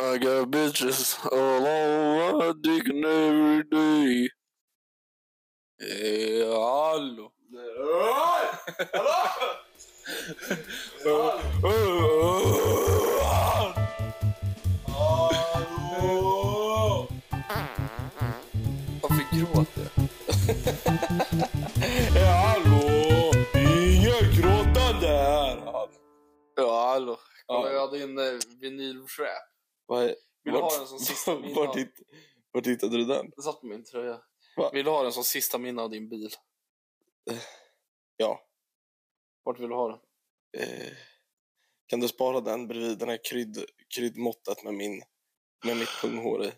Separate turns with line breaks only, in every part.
I got bitches all on my dick and every day. Eh, hallå!
Oj! Hallå! Hallå! Hallå!
Varför gråter
Eh, Hallå! Det är inget gråtande här!
Ja, hallå. Kolla,
Ja.
jag hade en eh, vinylwrap.
Vad är-
Vill du
vart-
ha den som sista minne?
Vart
av-
hitt- vart hittade du den?
Den satt på min tröja.
Va?
Vill du ha den som sista minne av din bil?
Ja.
Vart vill du ha den?
Eh, Kan du spara den bredvid den här krydd, kryddmåttet med min med mitt punghår i?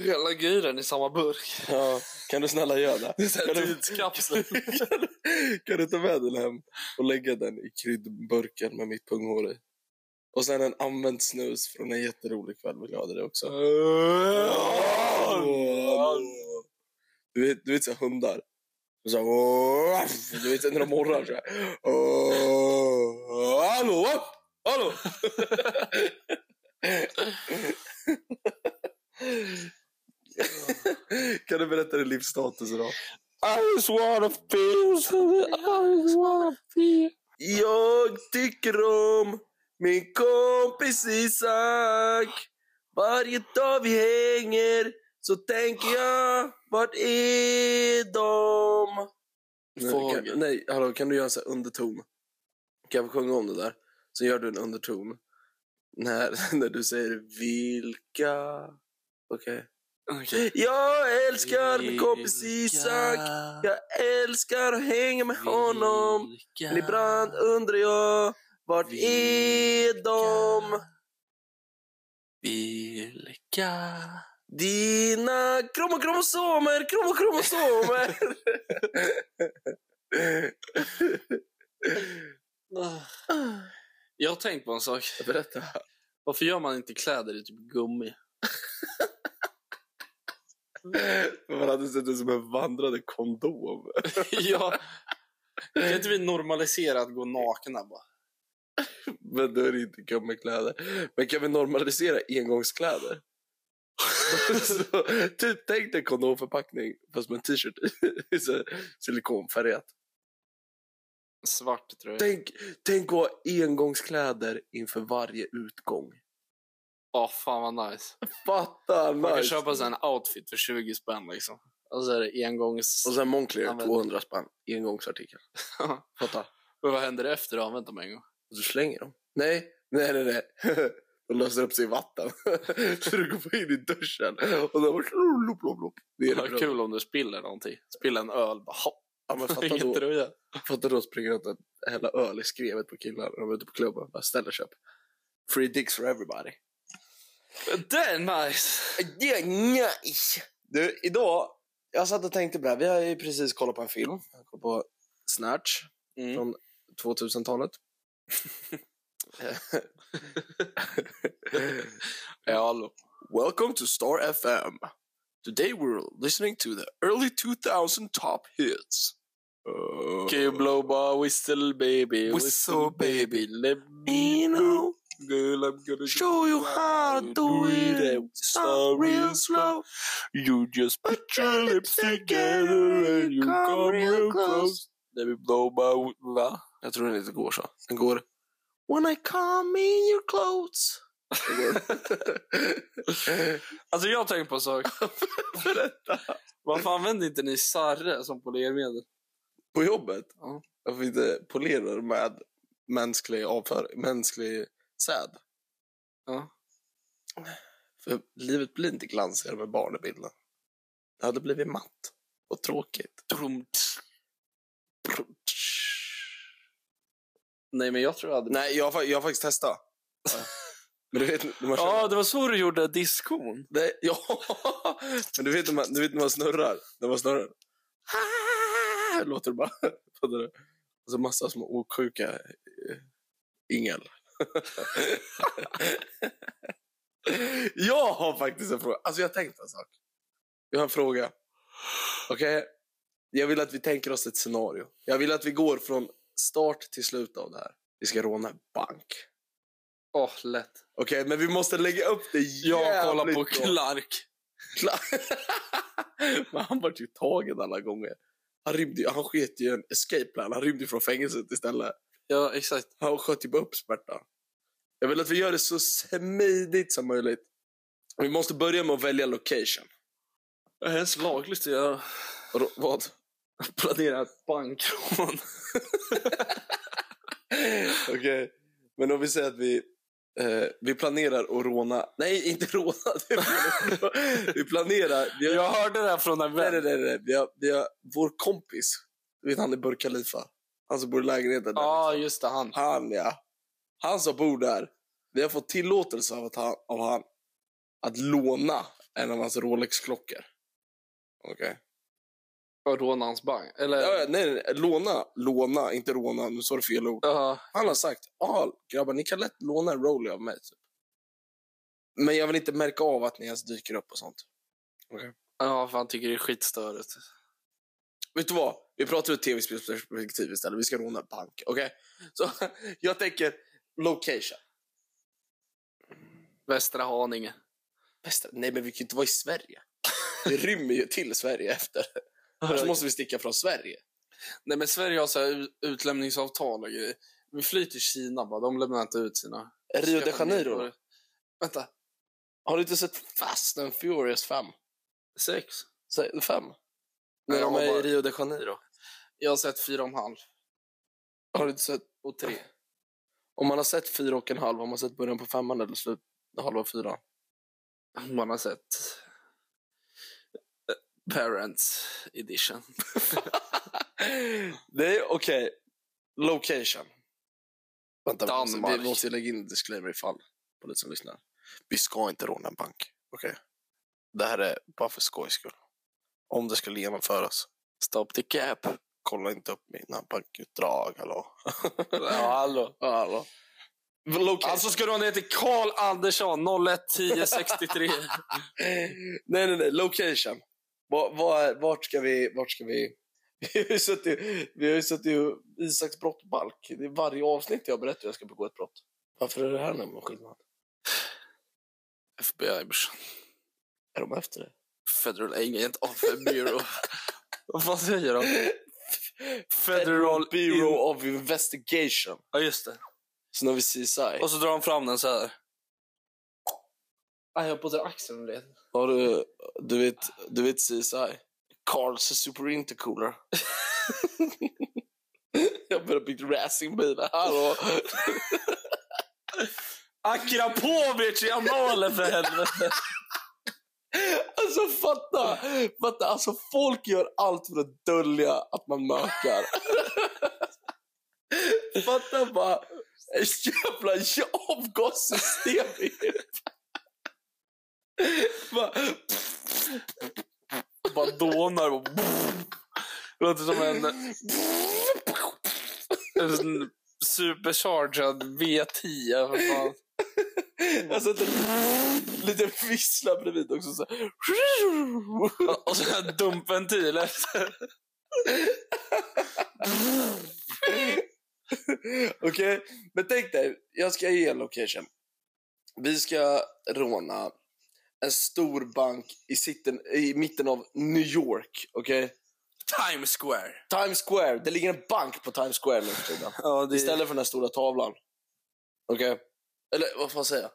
Hela grejen i samma burk.
Ja, kan du snälla göra det?
Det är såhär
Kan du-
tidskapsel.
kan du ta med den hem och lägga den i kryddburken med mitt punghår i? Och sen en använd snus från en jätterolig kväll vill jag ha det också. Du vet, du vet så här hundar. Och Så här, du vet när de morrar så här. Hallå! Hallå! Kan du berätta din livsstatus idag?
I just wanna feel something, I just wanna feel.
Jag tycker om min kompis Isak. Varje dag vi hänger så tänker jag, vart är de? Nej,
Fågel.
kan, nej hallå, kan du göra en sån här underton? Kan jag få sjunga om det där? Så gör du en underton. När, när du säger vilka... Okej. Jag älskar min kompis Isak. Jag älskar att hänga med honom. Men ibland undrar jag, vart är de?
Vilka?
Dina kromo- kromosomer, kromo- kromosomer.
Ah. Jag har tänkt på en sak.
Berätta.
Varför gör man inte kläder i typ gummi?
Man hade sett det som en vandrande kondom.
ja. Kan inte vi normalisera att gå nakna bara?
Men då är det inte gummikläder. Men kan vi normalisera engångskläder? så, typ tänk dig kondomförpackning fast med en t-shirt i. Så- Silikonfärgat.
Svart tror jag.
Tänk, tänk att ha engångskläder inför varje utgång.
Ja, fan vad nice.
Fatta
Man kan
nice!
köpa sig en outfit för 20 spänn liksom. Och så är det engångs...
Och sen Moncler,
Använd.
200 spänn. Engångsartikel. Fatta.
Men vad händer efter du har använt dem en gång?
Och du slänger dem. Nej, nej, nej. nej. De löser upp sig i vatten. så du går in i duschen och då bara lopp, lopp, lopp. Det är
Det var
det
kul om du spiller någonting. Spiller en öl, bara hopp.
Ja, men fatta
Ingen
då,
tröja.
fatta då springer runt och häller öl i skrevet på killar när de är ute på klubben. Bara ställer sig upp. Free dicks for everybody.
Det är nice!
Det är nice! Du, idag, jag satt och tänkte på det här. Vi har ju precis kollat på en film. Jag kollade på Snatch.
Mm.
Från 2000-talet.
Ja, hallå.
Welcome to Star FM. Today we're listening to the early 2000 top hits. Uh,
Can you blow by whistle baby,
Whistle, baby.
let me
you know,
girl I'm gonna
show you how to do it. Start real slow.
You just put your lips together and you come real close. Let me blow by... Va?
Jag tror den inte går så. Den går... When I come in your clothes.
Alltså jag har tänkt på en sak.
Berätta.
Varför använder inte ni sarre som polermedel?
På jobbet?
Ja.
Varför inte polerar med mänsklig avföring? Mänsklig säd?
Ja.
För livet blir inte glansigare med barn i bilden. Det hade blivit matt och tråkigt.
Nej men jag tror jag hade...
Nej, jag har, fa- jag har faktiskt testat. Men du vet, när man känner,
Ja, det var så du gjorde diskon.
nej, ja. Men du vet, när man, du vet när man snurrar. När man snurrar. Ah, Låter det bara. Fattar du? Och så massa små osjuka eh, yngel. jag har faktiskt en fråga. Alltså jag har tänkt en sak. Jag har en fråga. Okej? Jag vill att vi tänker oss ett scenario. Jag vill att vi går från start till slut av det här. Vi ska råna en bank.
Åh, lätt.
Okej, men vi måste lägga upp det jävligt
Jag kollar på
bra.
Clark.
Men han vart ju tagen alla gånger. Han rymde ju, han sket ju en escape plan. Han rymde från fängelset istället.
Ja, exakt.
Han sköt ju bara upp Smärta. Jag vill att vi gör det så smidigt som möjligt. Vi måste börja med att välja location.
Är det ens lagligt att göra?
Och då, vad?
Planera ett bankrån.
Okej. Men om vi säger att vi, eh, vi planerar att råna... Nej, inte råna. Det är- vi planerar... Vi har,
Jag hörde det här från en
nej, nej,
vän.
nej, nej. Vi har, vi har vår kompis. Du vet han i Burj Khalifa? Han som bor i lägenheten där. liksom.
Ja, just det. Han.
Han, ja. Han som bor där. Vi har fått tillåtelse av, att han, av han att låna en av hans Rolex-klockor. Okej.
Och råna hans bank. Eller?
Ja, ja, nej, nej, nej, låna, låna, inte råna. Nu sa du fel ord.
Ja.
Han har sagt, ja grabbar ni kan lätt låna en Rolex av mig. Typ. Men jag vill inte märka av att ni ens dyker upp och sånt.
Ja, för han tycker det är skitstörigt.
Vet du vad? Vi pratar ur ett tv-spelsperspektiv istället. Vi ska råna en bank. Okej? Så jag tänker location.
Västra Haninge.
Västra. Nej, men vi kan ju inte vara i Sverige. Vi rymmer ju till Sverige efter. Annars
Alltså,
måste vi sticka från Sverige.
Nej, men Sverige har så här ut- utlämningsavtal och grejer. Vi flyr till Kina bara. De lämnar inte ut sina...
Rio de Janeiro.
Vänta.
Har du inte sett Fast and Furious 5?
Sex?
Se- 5? När
Nej, jag
de är
har
i
bara-
Rio de Janeiro.
Jag har sett fyra och en halv
Har du inte sett?
och tre.
Om man har sett fyra och en halv, har man sett början på femman eller slut halva fyran?
Man har sett... eh, Parents edition.
Nej, okej. Location. Vänta, vi måste-
Danmark.
Vi måste ju lägga in en disclaimer ifall polisen lyssnar. Vi ska inte råna en bank. Okej? Det här är bara för skojs skull. Om det skulle genomföras,
Stop the cap.
kolla inte upp mina bankutdrag. Hallå?
Ja, hallå.
hallå. Location.
Alltså ska du ha ner till Karl Andersson 011063.
nej, nej, nej. Location. Var, var, vart ska vi... Vart ska vi... Vi har ju suttit, vi har ju suttit i Isaks brottbalk. Det är varje avsnitt jag berättar hur jag ska begå ett brott. Varför är det här nämligen skillnad?
FBI brorsan.
Är de efter det?
Federal Agent of the Bureau. Vad fan säger de? Federal
Bureau
In-
of Investigation.
Ja just det.
Sen har vi CSI.
Och så drar de fram den så här. Jag höll på att dra axeln lite.
Har du, du, vet, du vet CSI? Carls Super Intercooler. jag börjar bygga racingbilar. Hallå!
Akrapovic i analen för helvete.
Alltså fatta! fatta alltså, folk gör allt för att dölja att man mökar. fatta bara ett jävla avgassystem i bara,
Bara dånar och... Låter som en... en supercharged V10. För fan.
alltså, det, lite vissla bredvid också. Så här.
Och- Och så här dumpventil efter.
Okej, men tänk dig. Jag ska ge en location. Vi ska råna en stor bank i, sitten, i mitten av New York. Okej?
Times Square.
Times Square. Det ligger en bank på Times Square nu för tiden.
Ja, det
Istället för den här stora tavlan. Okej? Eller vad fan säger jag?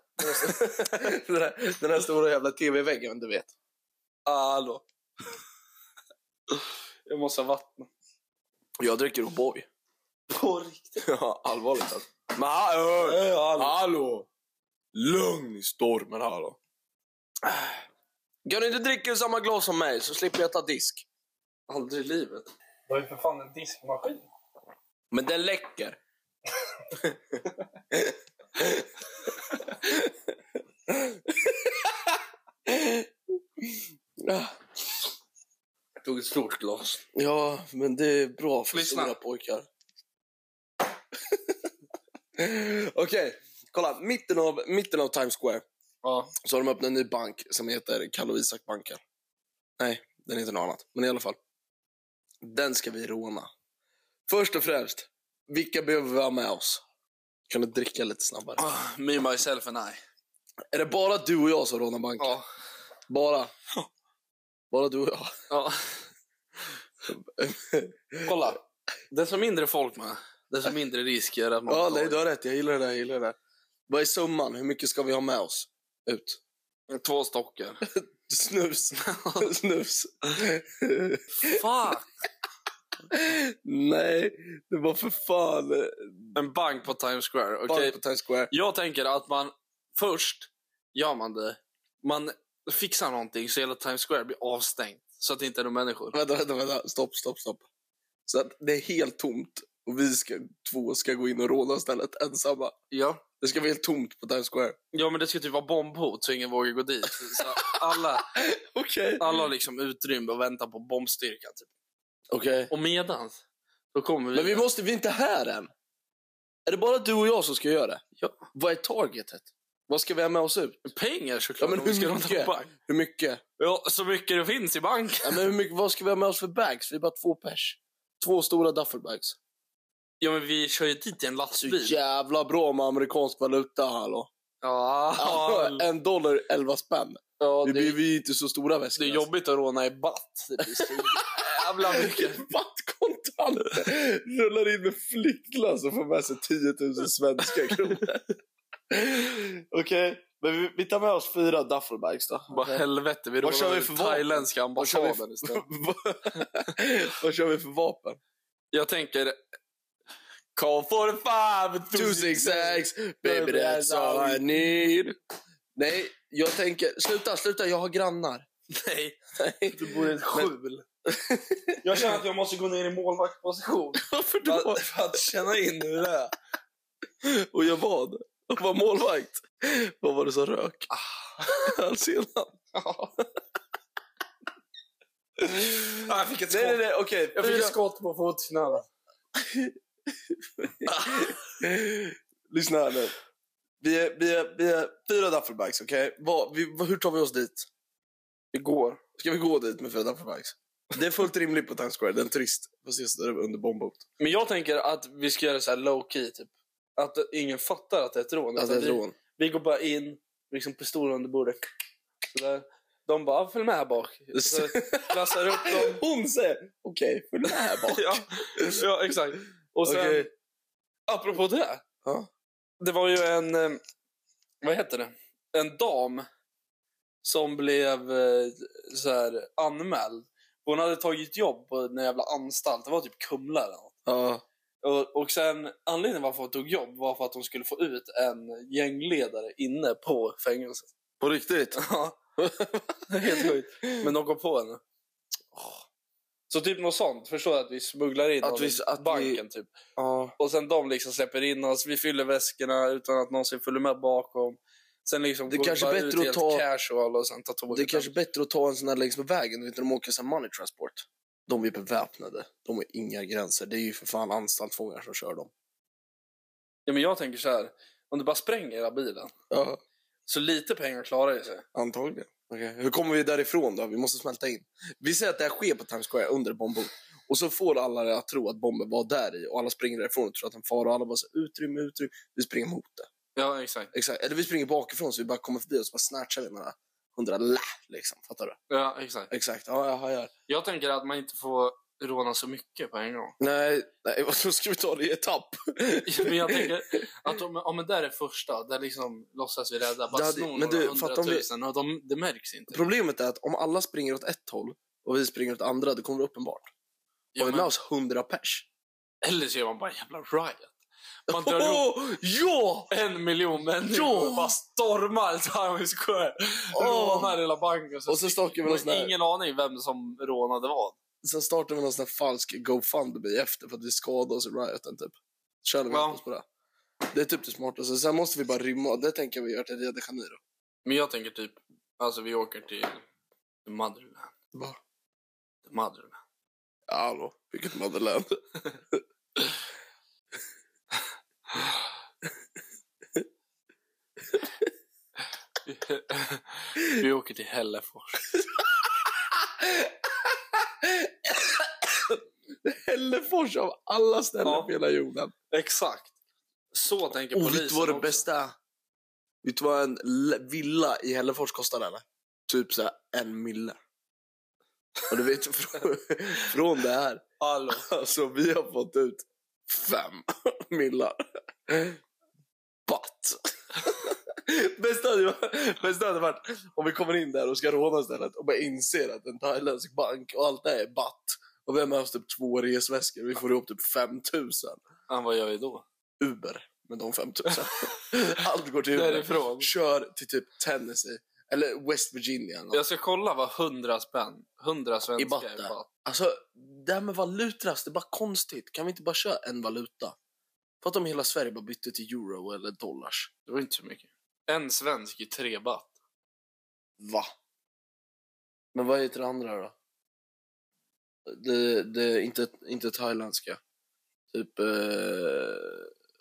den, här, den här stora jävla tv-väggen, du vet. Ah,
Hallå. Jag måste ha vatten.
Jag dricker O'boy.
På riktigt.
Ja, allvarligt alltså. Men hallå! hallå. Lugn i stormen hallå! Kan du inte dricka ur samma glas som mig så slipper jag ta disk?
Aldrig i livet. Du har ju för fan en diskmaskin.
Men den läcker.
Ah. Jag tog ett stort glas.
Ja, men det är bra för
Lyssna.
stora pojkar. Okej, kolla. Mitten av, mitten av Times Square
Ja.
så har de öppnat en ny bank som heter Kalle och Isak-banken. Nej, den heter något annat. Men i alla fall. Den ska vi råna. Först och främst, vilka behöver vi ha med oss? Kan du dricka lite snabbare?
Ah, Me, myself and I.
Är det bara du och jag som rånar banken?
Ja.
Bara? Bara du och jag?
ja. Kolla. Desto mindre folk man desto mindre risker att man
Ja, nej, du har rätt. Jag gillar det där. Jag gillar det där. Vad är summan? Hur mycket ska vi ha med oss? Ut.
Två stockar.
Snus. Snus.
Fuck!
nej, det var för fan eh,
En bank på Times Square.
bara
Okej,
på Times Square.
Jag tänker att man först gör man det. Man fixar någonting så hela Times Square blir avstängt. Så att det inte är några människor.
Vänta, vänta, vänta. Stopp, stopp, stopp. Så att det är helt tomt och vi ska, två ska gå in och råna stället ensamma.
Ja.
Det ska vara helt tomt på Times Square.
Ja men det ska typ vara bombhot så ingen vågar gå dit. Så alla,
Okej.
alla har liksom utrymme och väntar på bombstyrkan. Typ.
Okej.
Och medans, då kommer vi...
Men vi måste, vi är inte här än. Är det bara du och jag som ska göra det?
Ja.
Vad är targetet? Vad ska vi ha med oss ut?
Pengar såklart.
Ja, men
om vi
hur
ska
mycket?
låna bank.
Hur mycket?
Ja, så mycket det finns i banken.
Ja, men hur mycket vad ska vi ha med oss för bags? Vi är bara två pers. Två stora duffelbags.
Ja men vi kör ju dit i en
Så
lastbil.
Typ jävla bra med amerikansk valuta, hallå.
Ja, ja,
en dollar, elva spänn.
det,
Det
det,
blir vi är inte så stora väskor.
är
alltså.
jobbigt att råna i batt. Det blir så jävla mycket.
Vattkontanter! Rullar in med flyttlass och får med sig 10 000 svenska kronor. Okej, men vi, vi tar med oss fyra duffelbags då.
Vad helvete, vi
Vad kör
rånade
vi för vapen?
thailändska
Vad kör vi
ambassaden
för-
istället.
Vad kör vi för vapen?
Jag tänker... Call for five!
Two six six, baby that's all I need. Nej, jag tänker... Sluta, sluta, jag har grannar.
Nej,
Nej.
du bor i ett skjul. jag känner att jag måste gå ner i målvaktsposition.
Varför
För, för att känna in hur det är.
Och jag vad? Och var målvakt. Vad var det som rök? Hälsenan.
Ah, jag fick ett skott.
Nej, nej, nej, okej.
Jag fick
Fyra-
ett skott på fotknölen.
Lyssna här nu. Vi är, vi är, vi är fyra duffelbags, okej? Vad- vi- vad- Hur tar vi oss dit?
Det går.
Ska vi gå dit med fyra duffelbags? Det är fullt rimligt på Times Square. Den turist får ses där under bombhot.
Men jag tänker att vi ska göra så här low key, typ. Att ingen fattar att det är ett rån.
Alltså
utan
ett
vi-
rån.
Vi går bara in, liksom pistol under bordet. Sådär. De bara, följ med här bak. Så klassar upp dem.
Hon säger okej, följ med här bak.
Ja, ja exakt. Och sen,
Okej.
apropå det.
Ja.
Det var ju en, eh, vad heter det? En dam som blev eh, så här, anmäld. Hon hade tagit jobb på en jävla anstalt. Det var typ Kumla eller något.
Ja.
Och, och sen anledningen varför hon tog jobb var för att hon skulle få ut en gängledare inne på fängelset.
På riktigt?
Ja. Helt sjukt. Men de kom på henne. Så typ något sånt. Förstår du att vi smugglar in
Att
honom
vi-
i
att vi-
banken typ.
Ja.
Och sen de liksom släpper in oss. Vi fyller väskorna utan att någonsin följer med bakom. Sen liksom
Det
går vi
kanske
bara
är bättre
ut
att
helt
ta-
casual och sen tar tåget.
Det är kanske bättre att ta en sån här längs med vägen. Du vet när de åker sån här money transport. De är beväpnade. De har inga gränser. Det är ju för fan anstaltfångar som kör dem.
ja, men jag tänker så här. Om du bara spränger hela bilen.
Ja.
Så lite pengar klarar ju sig.
Antagligen. Hur kommer vi därifrån då? Vi måste smälta in. Vi säger att det här sker på Times Square under bomben. Och så får alla det att tro att bomben var där i och alla springer därifrån och tror att den far och alla bara så här, utrymme, utrymme. Vi springer mot det.
Ja exakt.
Exakt. Eller vi springer bakifrån så vi bara kommer förbi och så bara snatchar vi några hundra lä liksom. Fattar du?
Ja exakt.
Exakt. Ja, ja, ja.
Jag tänker att man inte får råna så mycket på en gång.
Nej, nej, vad så ska vi ta det i etapp?
men jag tänker att om, om det där är första, där liksom låtsas vi rädda,
Det
bara
hade-
snor
men du,
några
fattar om vi-
hundratusen och de, det märks inte.
Problemet är att om alla springer åt ett håll och vi springer åt andra, det kommer det uppenbart.
Ja,
Har vi med
men,
oss hundra pers?
eller så gör man bara en jävla riot. Man drar ihop
ja!
en miljon människor
Ja!
och bara stormar Times Square.
Åh!
Rånar hela banken. Så
Och så stakar vi
man
någon sån
har
här...
ingen aning vem som rånade vad.
Sen startar vi någon sån här falsk GoFundMe efter för att vi skadade oss i rioten typ. Kör vi
Ja.
ja. oss på det. Det är typ det smartaste. Sen måste vi bara rymma. Det tänker jag vi gör till Rio de Janeiro.
Men jag tänker typ, alltså vi åker till The Motherland.
Var?
The Motherland.
Ja, Hallå, vilket motherland.
vi åker till Hällefors.
Hällefors av alla ställen
Ja.
på hela jorden.
Exakt. Så tänker
Oh,
polisen
vet du vad det
också.
bästa Vet du vad en l- villa i Hällefors kostar eller? Typ så här en mille. Och du vet från, från det här.
Hallå.
Alltså vi har fått ut fem millar. But.
Bästa hade, varit- bästa hade varit om vi kommer in där och ska råna stället och bara inser att en thailändsk bank och allt det här är batt. Och vi har med oss typ två resväskor. Vi får ihop typ 5000
Ja, vad gör vi då?
Uber med de 5000. Allt går till Uber.
Därifrån.
Kör till typ Tennessee eller West Virginia. Eller något.
Jag ska kolla vad 100 spänn, 100 svenska
I botten.
är bara-
Alltså, det här med valutras, det är bara konstigt. Kan vi inte bara köra en valuta? Fatta om hela Sverige bara bytte till euro eller dollars.
Det var inte så mycket. En svensk i tre baht.
Va? Men vad heter det andra då? Det, det är inte, inte thailändska. Typ... Eh...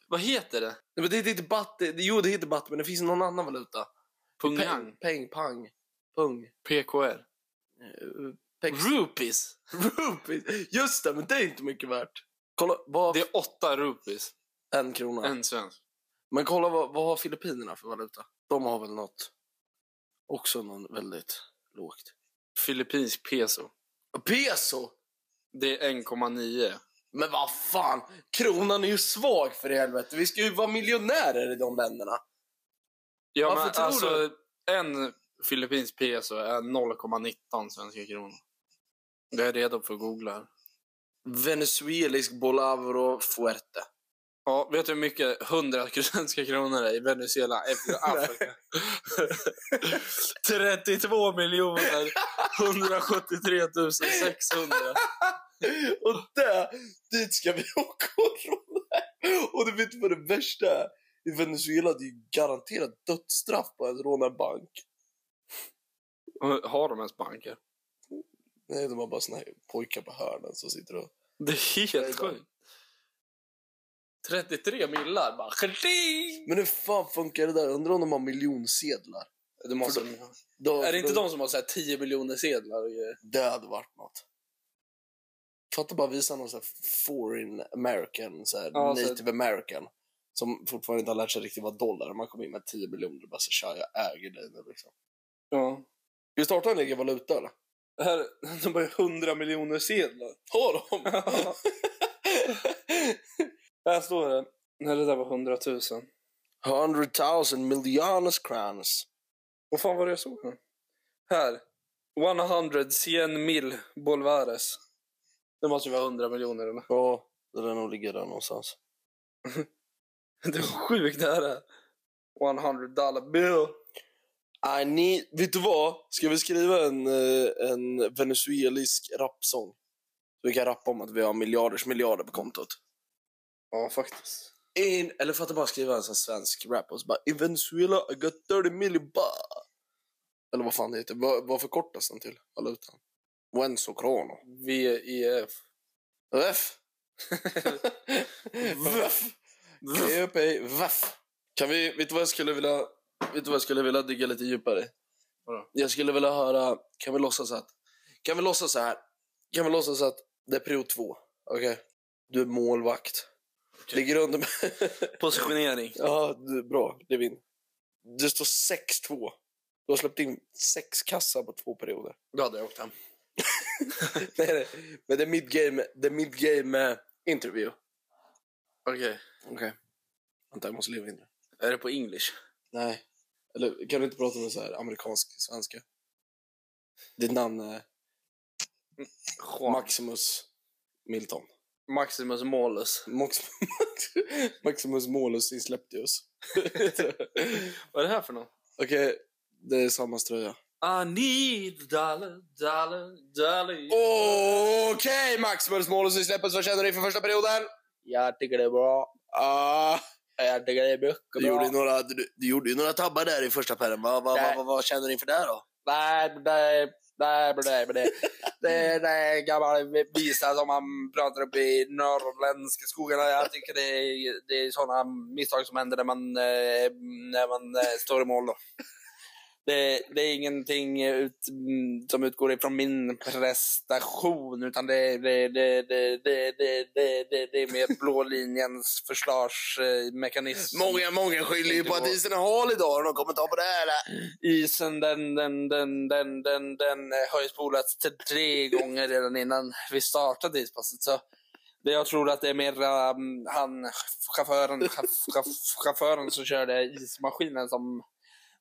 Vad heter det?
Nej, men det heter inte baht. det- Jo, det heter baht, men det finns någon annan valuta.
Pungang?
Peng, pang, pung.
PKR?
eh, Pex.
Rupees?
Rupees. Just det, men det är inte mycket värt. Kolla, vad...
Det Mm. är åtta rupees.
En krona.
En svensk.
Men kolla vad, vad har Filippinerna för valuta? De har väl något. Också någon väldigt lågt.
Filippinsk peso.
Peso!
Det är 1,9.
Men vad fan, kronan är ju svag för helvete. Vi ska ju vara miljonärer i de länderna.
Ja,
Varför
men
tror
alltså, En filippinsk peso är 0,19 svenska kronor. Jag är redo för att googla här.
Venezuelisk Bolavo Fuerte.
Ja, vet du hur mycket 100 svenska kronor är i Venezuela efter Afrika? 32 miljoner 173 600.
Och där, dit ska vi åka och råna. Och du vet vad det värsta är? I Venezuela det är ju garanterat dödsstraff på att råna en bank.
Har de ens banker?
Nej, de har bara såna här pojkar på hörnen som sitter och...
Det är
Nej,
helt sjukt. 33 millar bara. Kling!
Men hur fan funkar det där? Undrar om de har miljonsedlar?
Det måste,
För De-
är det inte
de-
de som har så här 10 miljoner sedlar? och grejer?
Det hade varit något. Fatta bara visa någon sån här foreign american, så här
Ja, så-
native american som fortfarande inte har lärt sig riktigt vad dollar är. Man kommer in med 10 miljoner och bara så tja, jag äger dig nu liksom.
Ja.
Ska vi starta en egen valuta eller?
Här, de har ju 100 miljoner sedlar.
Har de?
Här står det. Nej, det där var 100 000.
100,000 miljoners crowns.
Vad fan var det jag såg? nu? Här. 100 cien mil bolvares. Det måste ju vara 100 miljoner eller?
Ja, det där nog ligger där någonstans.
Det var sjukt det här. är. 100 dollar bill.
I need... Ah, Vet du vad? Ska vi skriva en, eh, en venezuelisk rapsång? Så vi kan rappa om att vi har miljarders miljarder på kontot.
Ja, faktiskt.
In, eller fatta bara skriva en sån här svensk rap och så bara In Venezuela I got 30 million ba. Eller vad fan det heter. Vad, vad förkortas den till? Valutan? Wenzo Crono.
VEF.
Veff! Veff! Köp ej veff! E Kan vi, vet du vad jag skulle vilja, vet du vad jag skulle vilja digga lite djupare i?
Vadå?
Jag skulle vilja höra, kan vi låtsas att, kan vi låtsas så här? Kan vi låtsas att det är period två? Okej? Du är målvakt.
Okej.
Ligger under med
Positionering.
Ja, du, bra. Levin. Det står 6-2. Du har släppt in sex kassar på två perioder.
Då hade jag åkt hem.
nej, nej. Men det är mid-game, det är mid-game eh, interview.
Okej.
Okej. Vänta, jag måste leva in det.
Är det på english?
Nej. Eller kan du inte prata med så här amerikansk svenska? Ditt namn är
Juan.
Maximus Milton.
Maximus Molus.
Max, Maximus Molus Insleptius.
Vad är det här för något?
Okej, det är samma tröja.
I need dollar, dollar, dollar.
Okej, Maximus Molus Insleptius, vad känner du inför första perioden?
Jag tycker det är bra.
Ah,
Jag tycker Äh, det är mycket
du, gjorde ju några, du, du gjorde ju några tabbar där i första pärren. Vad vad-
Nej.
vad- vad känner du inför det då?
Nej, men det, nej, men det, men det, det, det är en gammal visa som man pratar upp i norrländska skogarna. Jag tycker det är, det är sådana misstag som händer när man, eh, när man eh, står i mål. Då.
Det, det är ingenting ut, mm, som utgår ifrån min prestation utan det, det, det, det, det, det, det, det, det är mer blå linjens försvarsmekanism.
Många, många skyller ju på att isen är hal idag. Har du någon kommentar på det här? eller?
Isen den, den, den, den, den, den eh, har ju spolats till tre gånger redan innan vi startade ispasset. Så det jag tror att det är mer um, han, chauffören, chaff, chaff, chauffören som körde ismaskinen som,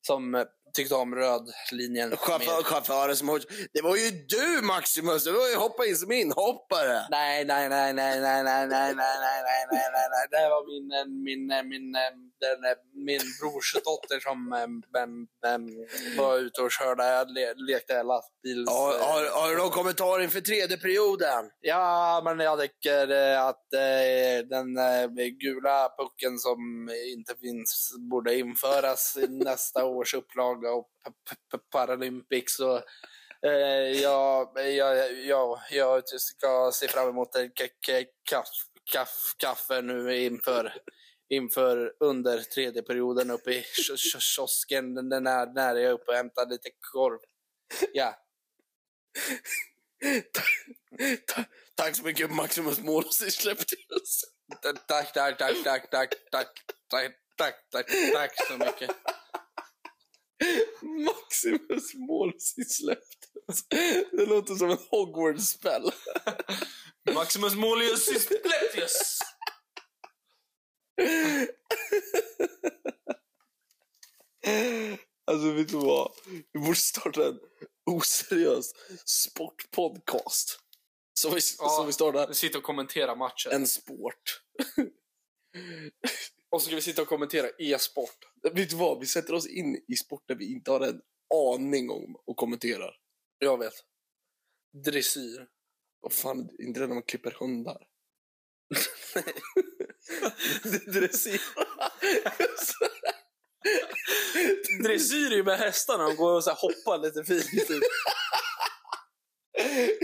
som eh, tyckte om röd linjen.
Chaufför,
mer.
chauffören som har... Det var ju du Maximus! Du var ju hoppa in som inhoppare!
Nej, nej, nej, nej, nej, nej, nej, nej, nej, nej, nej, nej, nej. Det här var min, eh, min, eh, min, eh, den, eh, min brors dotter som eh, em, em, var ute och körde, le, lekte lastbils...
Ja,
eh,
har, har du någon kommentar inför tredje perioden?
Ja, men jag tycker eh, att eh, den eh, gula pucken som inte finns borde införas i nästa års upplaga av P- P- P- Paralympics. Så, eh, jag, jag, jag, jag ska se fram emot en k- k- kaff, kaff, kaffe nu inför, inför under tredje perioden uppe i ki- ki- kiosken den- den är- när jag är uppe och hämtar lite korv. Ja.
Ta- Tack så mycket Maximus Målsson släppte oss.
Tack, tack, tack, tack, tack, tack, tack, tack, tack, tack, tack så mycket.
Maximus Målsson släppte oss. Det låter som en Hogwarts-spel.
Maximus Molius Pletius.
Alltså vet du vad? Vi borde starta en oseriös sportpodcast. Som vi,
Ja.
som vi startar.
Vi sitter och kommenterar matchen.
En sport.
Och så ska vi sitta och kommentera e-sport.
Vet du vad? Vi sätter oss in i sporter vi inte har en aning om och kommenterar.
Jag vet. Dressyr.
Vad fan, inte det när man klipper hundar?
Dressyr. Dressyr är ju med hästarna. De går och så här hoppar lite fint. typ. ut.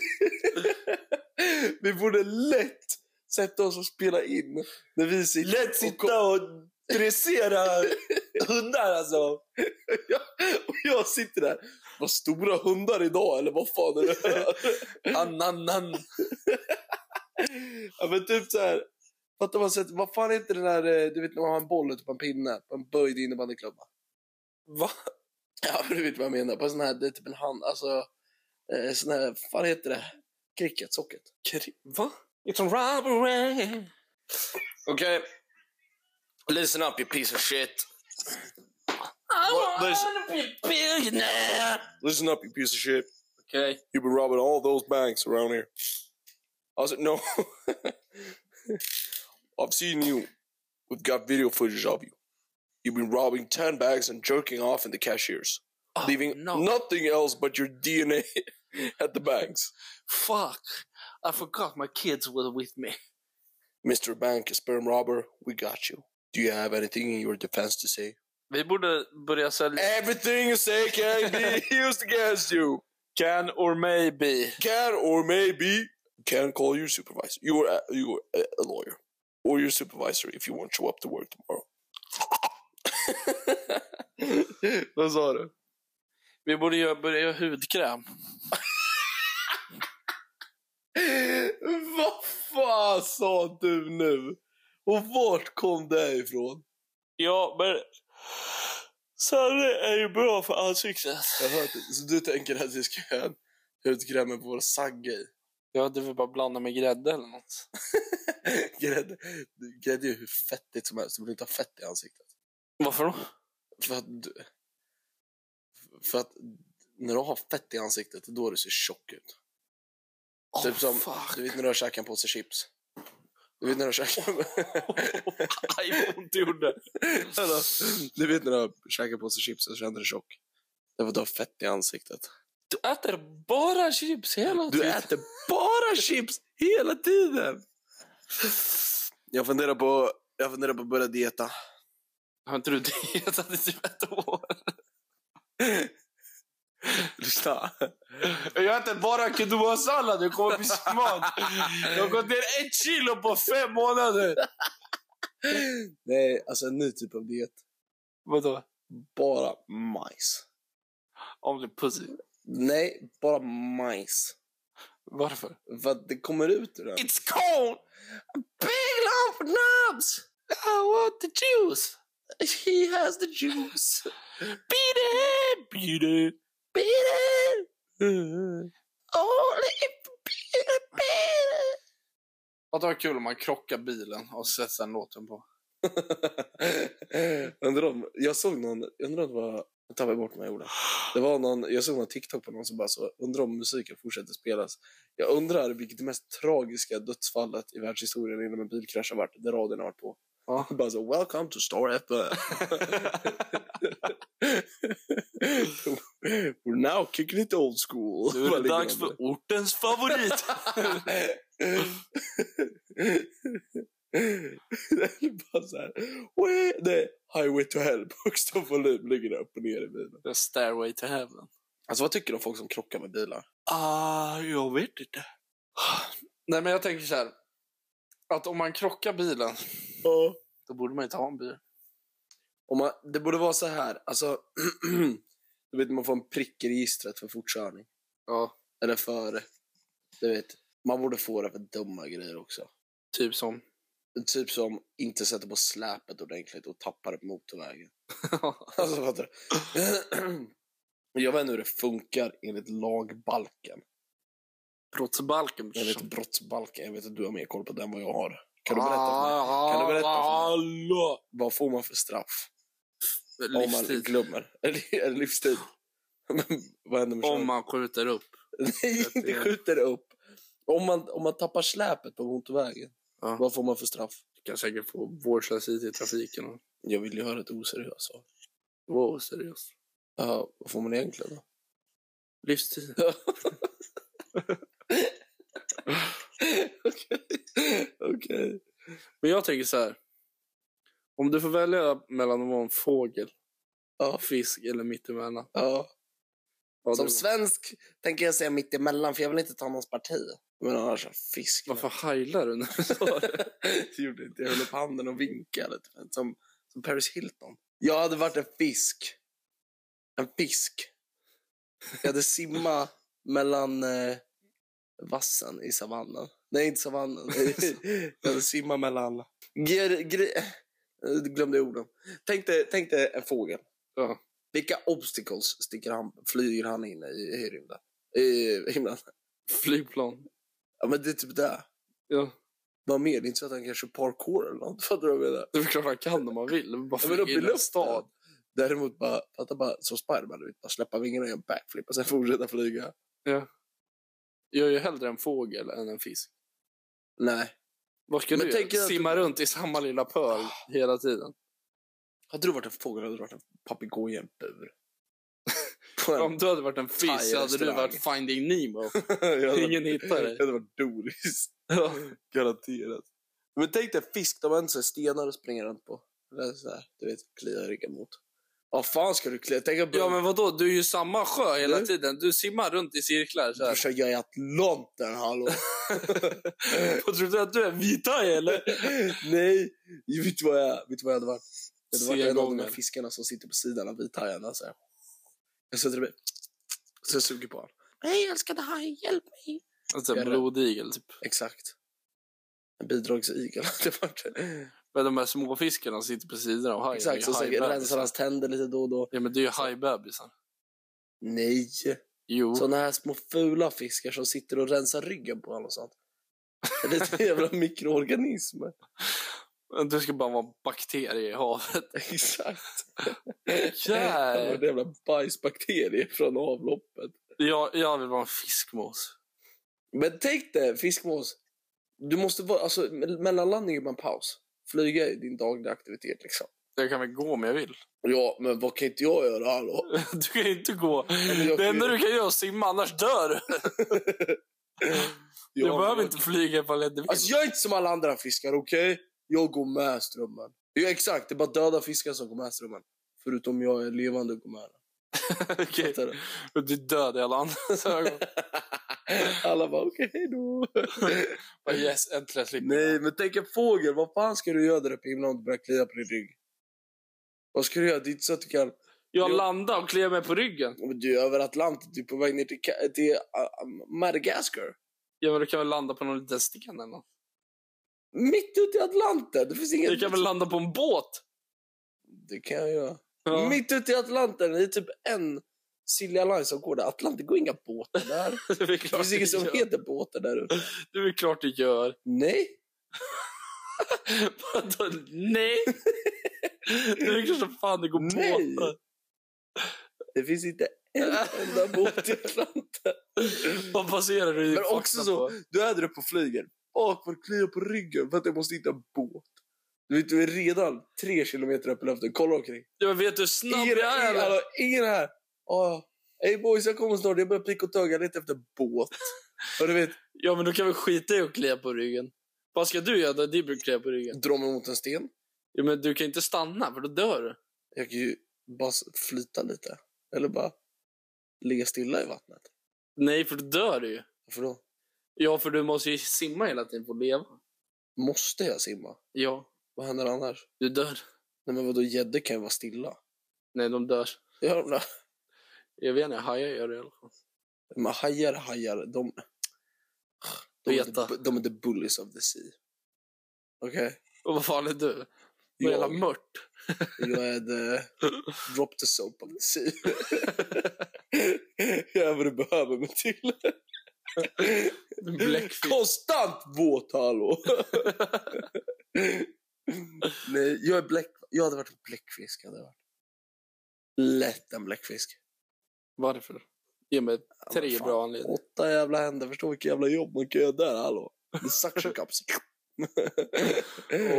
Vi borde lätt sätta oss och spela in när vi sitter
Lätt
och, kom-
sitta och dressera hundar alltså.
och jag sitter där. Vad stora hundar idag eller vad fan är det här?
Annan.
ja, men typ så här. Fattar man sett, vad fan heter det där, eh, du vet när man har en boll ute på en pinne, på en böjd innebandyklubba?
Va?
Ja, men du vet vad jag menar, på en sån här, det är typ en hand, alltså, eh, sån här, vad fan heter det? Cricket, socket.
Kri- Va? It's a robbery.
Okej. Listen up you piece of shit.
I
wanna
be a billionaire.
Listen up you piece of shit.
Okej.
You've been robbing all those banks around here. I said, no. I've seen you. We've got video footage of you. You've been robbing 10 bags and jerking off in the cashiers,
Oh,
leaving
no.
nothing else but your DNA at the banks.
Fuck. I forgot my kids were with me.
Mr. Bank, sperm robber, we got you. Do you have anything in your defense to say?
Vi borde börja sälja...
Everything you say can be used against you.
Can or maybe.
can or maybe can call your supervisor. You're a, you're a a lawyer or your supervisor if you won't show up to work tomorrow. Vad sa du?
Vi borde ju börja göra hudkräm.
Vad fan sa du nu? Och vart kom det ifrån?
Ja, men... Sanne är ju bra för ansiktet.
Jag har hört det. Så du tänker att vi ska göra en hudkräm med vår sagg i?
Ja, du vill bara blanda med grädde eller något.
Grädde grädde är ju hur fettigt som helst. Du vill inte ha fett i ansiktet.
Varför då?
För att, du, för att när du har fett i ansiktet, då du ser tjock ut. typ som,
fuck.
du vet när du har käkat en påse chips. Du vet när du har käkat...
Aj, vad ont det gjorde.
Eller, du vet när du har käkat en påse chips och känner dig tjock. Därför att du har fett i ansiktet.
Du äter bara chips hela
Du äter bara chips hela tiden! Jag funderar på, jag funderar på att börja dieta.
Har inte du dietat i typ ett år?
Lyssna.
Jag äter bara quinoa-sallad. Jag kommer bli smart. Jag har gått ner ett kilo på fem månader.
Nej, alltså en ny typ av diet.
Vadå?
Bara majs.
Om du pussy.
Nej, bara majs.
Varför?
För att det kommer ut ur den.
It's cold!
Big lump knobs!
I want the juice!
He has the juice.
Beat it! Beat it!
Beat it! Only beat it, beat it.
Att det var kul om man krockar bilen och sätter den låten på.
undrar om, jag såg någon, undrar om det var, nu tappade jag bort mig orden. Det var någon, jag såg någon TikTok på någon som bara så, undrar om musiken fortsätter spelas. Jag undrar vilket det mest tragiska dödsfallet i världshistorien inom en bilkrasch har varit, där radion har varit på.
Ja.
Bara så, welcome to Star FM. We're now kicking it old school.
Nu är
Vad
det
ligger
dags
de där?
för ortens favorit!
Eller bara så här, "Wee-" nej, Highway to Hell på högsta volym ligger där upp och ner i bilen.
The stairway to heaven.
Alltså vad tycker du om folk som krockar med bilar?
Ah, jag vet inte. Nej, men jag tänker så här. Att om man krockar bilen,
Ja.
då borde man inte ha en bil.
Om man, det borde vara så här, alltså, du vet man får en prick i registret för fortkörning.
Ja,
Eller för, du vet, man borde få det för dumma grejer också.
typ som.
Typ som inte sätter på släpet ordentligt och tappar det på motorvägen. Alltså fattar du? Jag vet inte hur det funkar enligt lagbalken.
Brottsbalken.
Jag vet brottsbalken. Jag vet att du har mer koll på den än vad jag har. Kan du
Ah,
berätta för mig?
Kan
du berätta för
Alla!
Vad får man för straff om man
Livstid.
glömmer? Eller eller livstid? Men vad händer med
Om
körningen?
man skjuter upp.
Nej, inte skjuter upp. Om man, om man tappar släpet på motorvägen,
Ja.
vad får man för straff?
Kan säkert få vårdslöshet i trafiken. och-
Jag vill ju höra ett oseriöst svar.
Wow, seriöst.
Ja, vad får man egentligen då?
Livstid.
Okej.
Men jag tänker så här. Om du får välja mellan att vara en fågel,
Ja.
fisk eller mittemellan.
Ja.
vad
Som
du-
svensk tänker jag säga mitt emellan för jag vill inte ta någons parti. Men annars, fisk.
Varför hajlar du? när-
det gjorde inte. Jag höll upp handen och vinkade. Typ. Som, som Paris Hilton. Jag hade varit en fisk. En fisk. Jag hade simma mellan eh, vassen i savannen. Nej, inte savannen. jag hade simma mellan... Ger, gre, eh, glömde jag orden. Tänk dig, tänk dig en fågel.
Ja.
Vilka obstacles sticker han, flyger han in i, i rymden? I himlen?
Flygplan.
Ja, men det är typ det.
Ja.
Vad mer? Det är inte så att han kanske parkour eller något. Fattar du vad jag menar?
Det är väl klart han kan om man vill. men Bara
Ja, men upp i
flyger in i en
luften. Däremot bara, fatta bara som Spiderman, du vet, bara släppa vingarna och göra en backflip och sen fortsätta flyga.
Jag är ju hellre en fågel än en fisk.
Nej.
Vad ska
Men
du Ah.
tänker
göra?
att-
Simma runt i samma lilla pöl hela tiden.
Hade du varit en fågel hade du varit en papegoja i en bur. På en-
Om du hade varit en fisk så hade du
Thai-restaurang.
varit Finding Nemo.
Jag hade-
Ingen hittar dig.
Jag hade varit Doris.
Ja.
Garanterat. Men tänk dig fisk, de har inte så här stenar att springa runt på. Eller så här, du vet, klia ryggen mot. Ja, fan ska du klia? Tänk att
Ja
börja...
men vadå, du är ju i samma sjö hela
Du?
tiden. Du simmar runt i cirklar så här.
Brorsan, jag är i Atlanten, hallå!
Vad tror du att du är? Vita eller?
Nej, jag vet du vad jag, vet du vad jag hade varit? Jag hade varit en av de
Segången.
här fiskarna som sitter på sidan av vithajarna. så här. Jag sätter mig. Så jag suger på honom. Nej, älskade haj, hjälp mig!
Alltså
Är det?
blodigel typ.
Exakt. En bidragsigel hade det varit.
Men de här småfiskarna som sitter på sidan av hajen.
Exakt, så, så
det är ju
rensar
hajbebisar.
hans tänder lite då och då.
Ja men det är ju hajbebisar.
Nej!
Jo.
Såna här små fula fiskar som sitter och rensar ryggen på honom och sånt. Det är lite jävla mikroorganismer.
Du ska bara vara bakterier i havet.
Exakt.
Jävlar.
Det var jävla bajsbakterier från avloppet.
Jag, jag vill vara en fiskmås.
Men tänk dig, fiskmås. Du måste vara, alltså, me- mellanlandning är bara en paus. Flyga är din dagliga aktivitet liksom.
Jag kan väl gå om jag vill.
Ja, men vad kan inte jag göra hallå?
Du kan ju inte gå.
men jag
Det enda
kan ju-
du kan göra är att simma, annars dör du. Du
Ja,
behöver
men-
inte flyga ifall du inte vill.
Alltså jag är inte som alla andra fiskar, okej? Jag går med strömmen. Ja, exakt, det är bara döda fiskar som går med strömmen. Förutom jag är levande och går med den.
Okej.
Fattar du?
Du är död i alla andras ögon.
Alla bara, okej då.
Bara, Yes, äntligen slipper
Nej, men tänk en fågel. Vad fan ska du göra där uppe i himlen om du börjar klia på din rygg? Vad ska du göra? Det är inte så att du kan...
Jag
Jo.
landade och klev mig på ryggen.
Men du är över Atlanten, du är på väg ner till, Ka- till uh, Madagaskar.
Ja, men du kan väl landa på någon liten sten eller något.
Mitt ute i Atlanten! Det finns inget...
Du kan väl landa på en båt?
Det kan jag göra.
Ja.
Mitt ute i Atlanten, det är typ en Silja Line som går där. Atlanten går inga båtar där.
Det är väl
Det
klart
finns
du
inget som
gör.
heter båtar där ute.
Det är väl klart du gör.
Nej.
Vadå, Nej! Det är väl klart som fan det går
Nej.
båtar.
Det finns inte en enda båt i Atlanten.
Vad baserar du din
Men
fakta
också så-
på?
Du är där på flygen. Åh, vad kliar på ryggen för att jag måste hitta en båt. Du vet, du är redan tre kilometer upp i luften. Kolla omkring.
Ja, men vet du hur snabb
Ingen,
jag är?
ingen,
eller?
alltså, ingen här. Åh. Hey boys, jag kommer snart. Jag börjar picka och tugga lite efter båt. Och du vet,
Ja, men du kan väl skita i att klia på ryggen. Vad ska du göra när du blir klia på ryggen?
dra mig mot en sten.
Ja, men du kan inte stanna, för då dör du.
Jag kan ju bara s- flyta lite. Eller bara ligga stilla i vattnet.
Nej, för då dör du ju.
Varför då?
Ja, för du måste ju simma hela tiden för att leva.
Måste jag simma?
Ja,
Vad händer annars?
du dör.
Nej men vadå, gäddor kan ju vara stilla.
Nej, de dör.
Gör de det?
Jag vet inte, hajar gör det i alla fall.
Men hajar, hajar, de... De är,
Beta.
the, de är the bullies of the sea. Okej?
Och vad fan är du? Vad jävla
Jag,
mört.
jag är the... uh, Drop the soap of the sea. jag är vad du behöver mig till.
En Bläckfisk.
Konstant våt, hallå! Nej, jag är bläck... Jag hade varit en bläckfisk. Hade jag varit. Lätt en bläckfisk.
Varför? Ge mig tre
men fan.
bra anledningar.
Åtta jävla händer, förstå vilket jävla jobb man kan göra där, hallå. The suction cups.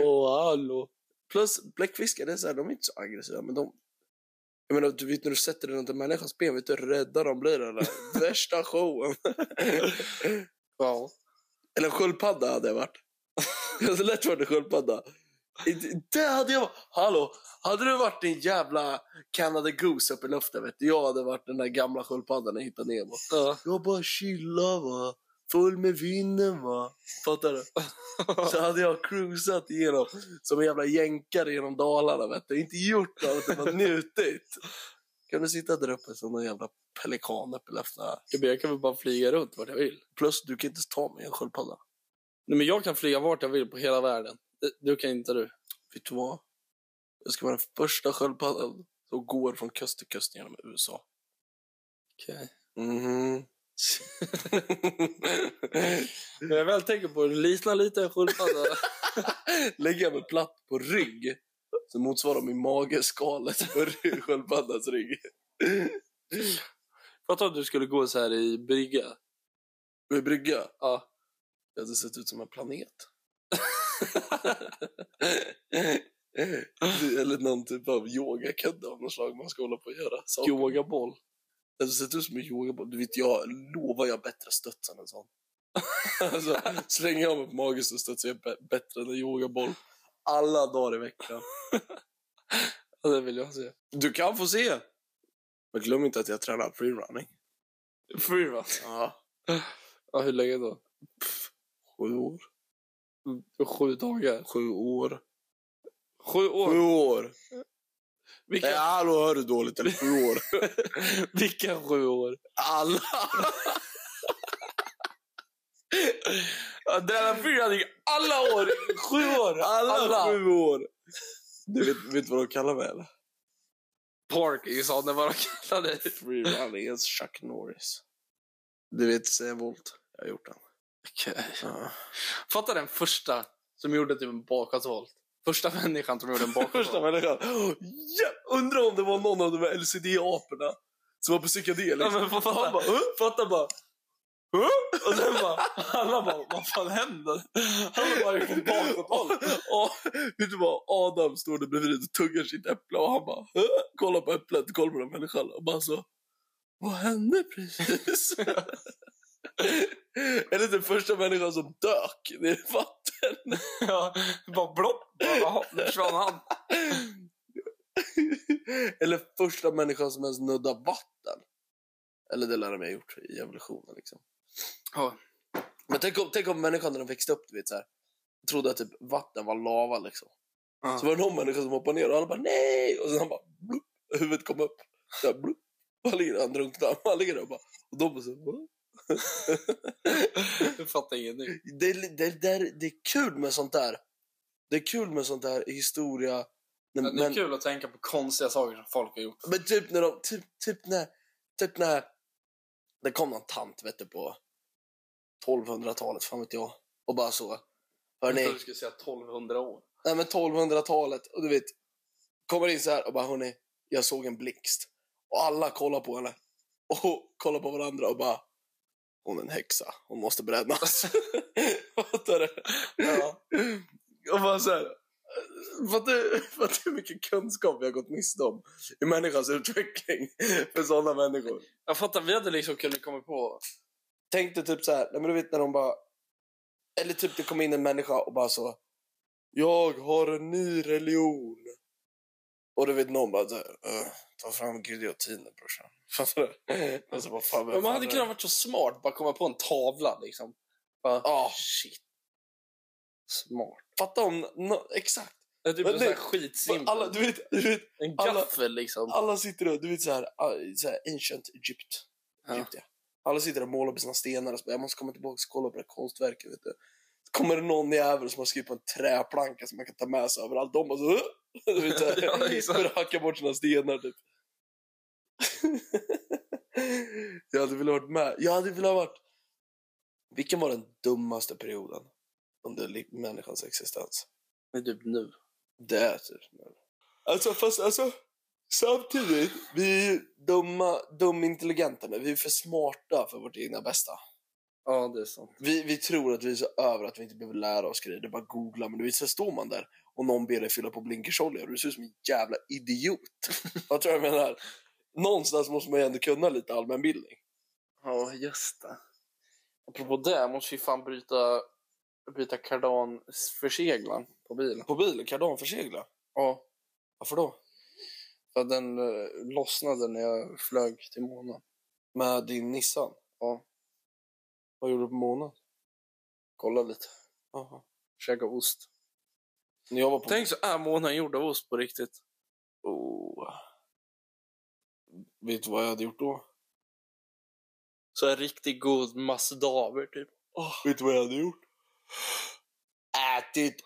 Åh, hallå.
Plus, bläckfiskar, det är så här, de är inte så aggressiva, men de... Jag menar, du vet när du sätter dig runt en människas ben, vet du hur rädda de blir eller? Värsta showen.
Ja.
Eller en sköldpadda hade jag varit. Jag hade lätt varit en sköldpadda. I- Det hade jag varit. Hallå, hade du varit en jävla Canada Goose uppe i luften, vet du? Jag hade varit den där gamla sköldpaddan i Hitta Nemo.
ja.
Jag bara chillar va. Full med vinden va. Fattar du? Så hade jag cruisat igenom som en jävla jänkare genom Dalarna vet du. Inte gjort något, utan bara njutit. Kan du sitta där uppe som någon jävla pelikan uppe i luften? här?
Jag kan väl bara flyga runt vart jag vill.
Plus du kan inte ens ta mig en sköldpadda.
Nej, men jag kan flyga vart jag vill på hela världen. Det- Du kan inte du.
Vet du vad? Jag ska vara den första sköldpaddan som går från kust till kust genom USA.
Okej.
Mhm.
När jag väl tänker på det, liknar lite en sköldpadda.
Lägger jag mig platt på rygg så motsvarar min mage skalet på ry- sköldpaddans rygg.
Fatta om du skulle gå så här i brygga.
Med brygga?
Ja.
Jag hade sett ut som en planet. Eller någon typ av yogakudde av något slag man ska hålla på att göra. saker.
Yogaboll.
Jag hade sett ut som en yogaboll. Du vet, jag lovar jag bättre studs än en sån. alltså, slänger jag mig på magen så studsar jag bä- bättre än en yogaboll. Alla dagar i veckan.
Ja, det vill jag se.
Du kan få se! Men glöm inte att jag tränar freerunning.
Freerun.
Ja.
Ja, hur länge då?
Sju år.
Sju dagar.
Sju år.
Sju år.
Sju år! Nej,
Vilka,
hallå, hör du dåligt? Eller sju år?
vilka sju år?
Alla!
Ja, Della Freerun alla år. Sju år.
Alla,
Alla.
sju år! Du vet, vet vad de kallar mig eller?
Parkings sa det vad de kallar dig.
Freerunningens Chuck Norris. Du vet Sam Volt? Jag har gjort den. Ja.
Fatta den första som gjorde typ en bakåtvolt. Första människan som gjorde en
Första
bakåtvolt.
människan. Ja, undrar om det var någon av de här LCD-aporna som var på psykedelik.
Ja, men fa-
Han
fatta,
bara, "Huh?"
fatta bara. "Huh?" Och sen bara, alla bara, vad fan händer? Alla bara gjort en bakåtvolt.
Ja, vet du vad? Adam står där bredvid och tuggar sitt äpple och han bara "Huh?" kollar på äpplet, kollar på den här människan och bara så vad hände precis? Eller den första människan som dök ner i vattnet.
Ja, bara blopp. Bara, jaha, nu försvann han.
Eller första människan som ens nuddar vatten. Eller det lär de mig ha gjort i evolutionen. Liksom.
Ja.
Men tänk om, tänk om människan när den växte upp du vet, så här, trodde att typ vatten var lava. Liksom.
Ja.
Så var det någon människa som hoppade ner och alla bara nej! Och sen han bara blup, huvudet kom upp. Så här, blup. han ligger han drunknar. Han ligger där och bara... Och de bara så här, "Va?"
Jag fattar ingenting.
det, är- det, det, det är kul med sånt där. Det är kul med sånt där historia. Men,
Men, det är
men,
kul att tänka på konstiga saker som folk har gjort.
men typ när de... Typ, typ när... Typ när... Det kom någon tant vet du, på 1200-talet, fan vet jag. Och bara så.
Jag
Hörni,
trodde du skulle säga 1200 år.
Nej, men 1200-talet. Och du vet, kommer in så här och bara hörni, jag såg en blixt. Och alla kollar på henne. Och kollar på varandra och bara, hon är en häxa. Hon måste brännas. Fattar du?
Ja.
Och bara så här. Fattar du- fattar du hur mycket kunskap jag har gått miste om i människans utveckling för sådana människor?
Jag fattar, vi hade liksom kunnat komma på...
Tänk dig typ så här, nej men du vet när de bara... Eller typ det kom in en människa och bara så... Jag har en ny religion. Och du vet någon bara så här, "Ugh, ta fram giljotinen brorsan. Fattar du? Alltså, vad fan,
Men man hade
fattar
kunnat
du?
varit så smart, bara komma på en tavla liksom. Bara,
Ja,
shit. Smart.
fatta om... nå- exakt.
Det är typ
Men
en sån här
det-
skitsimpel.
Alla, du vet, du vet,
en
alla-
gaffel liksom.
alla sitter och... Du vet så här, ah, så här ancient Egypt.
Ja.
Egypt ja. Alla sitter och målar på sina stenar och så bara, jag måste komma tillbaka och kolla på det här konstverket. Vet du. Så Kommer det någon jävel som har skrivit på en träplanka som man kan ta med sig överallt. De bara så... "Huh?" Du vet, så här,
Ja, exakt.
börjar hacka bort sina stenar typ. jag hade velat varit med. Jag hade velat varit... Vilken var den dummaste perioden under li- människans existens?
Men typ nu.
Det är typ Alltså fast alltså samtidigt, vi är dumma, dumintelligenta men vi är för smarta för vårt egna bästa.
Ja, det är sant.
Vi, vi tror att vi är så över att vi inte behöver lära oss grejer, det är bara att googla men du vet så står man där och någon ber dig fylla på blinkersolja och du ser ut som en jävla idiot. Vad tror jag menar? Någonstans måste man ju ändå kunna lite allmänbildning.
Ja, just det. Apropå det, måste vi fan bryta, byta kardan-förseglaren på bilen.
På bilen, kardanförsegla.
Ja,
Varför då?
för att den eh, lossnade när jag flög till månen.
Med din Nissan?
Ja.
Vad gjorde du på månen?
Kolla lite.
Jaha.
Käka ost.
När jag var på
Tänk så är månen gjord av ost på riktigt.
Oh. Vet du vad jag hade gjort då?
Så en riktigt god massdaver typ.
Vet du vad jag hade gjort? Ätit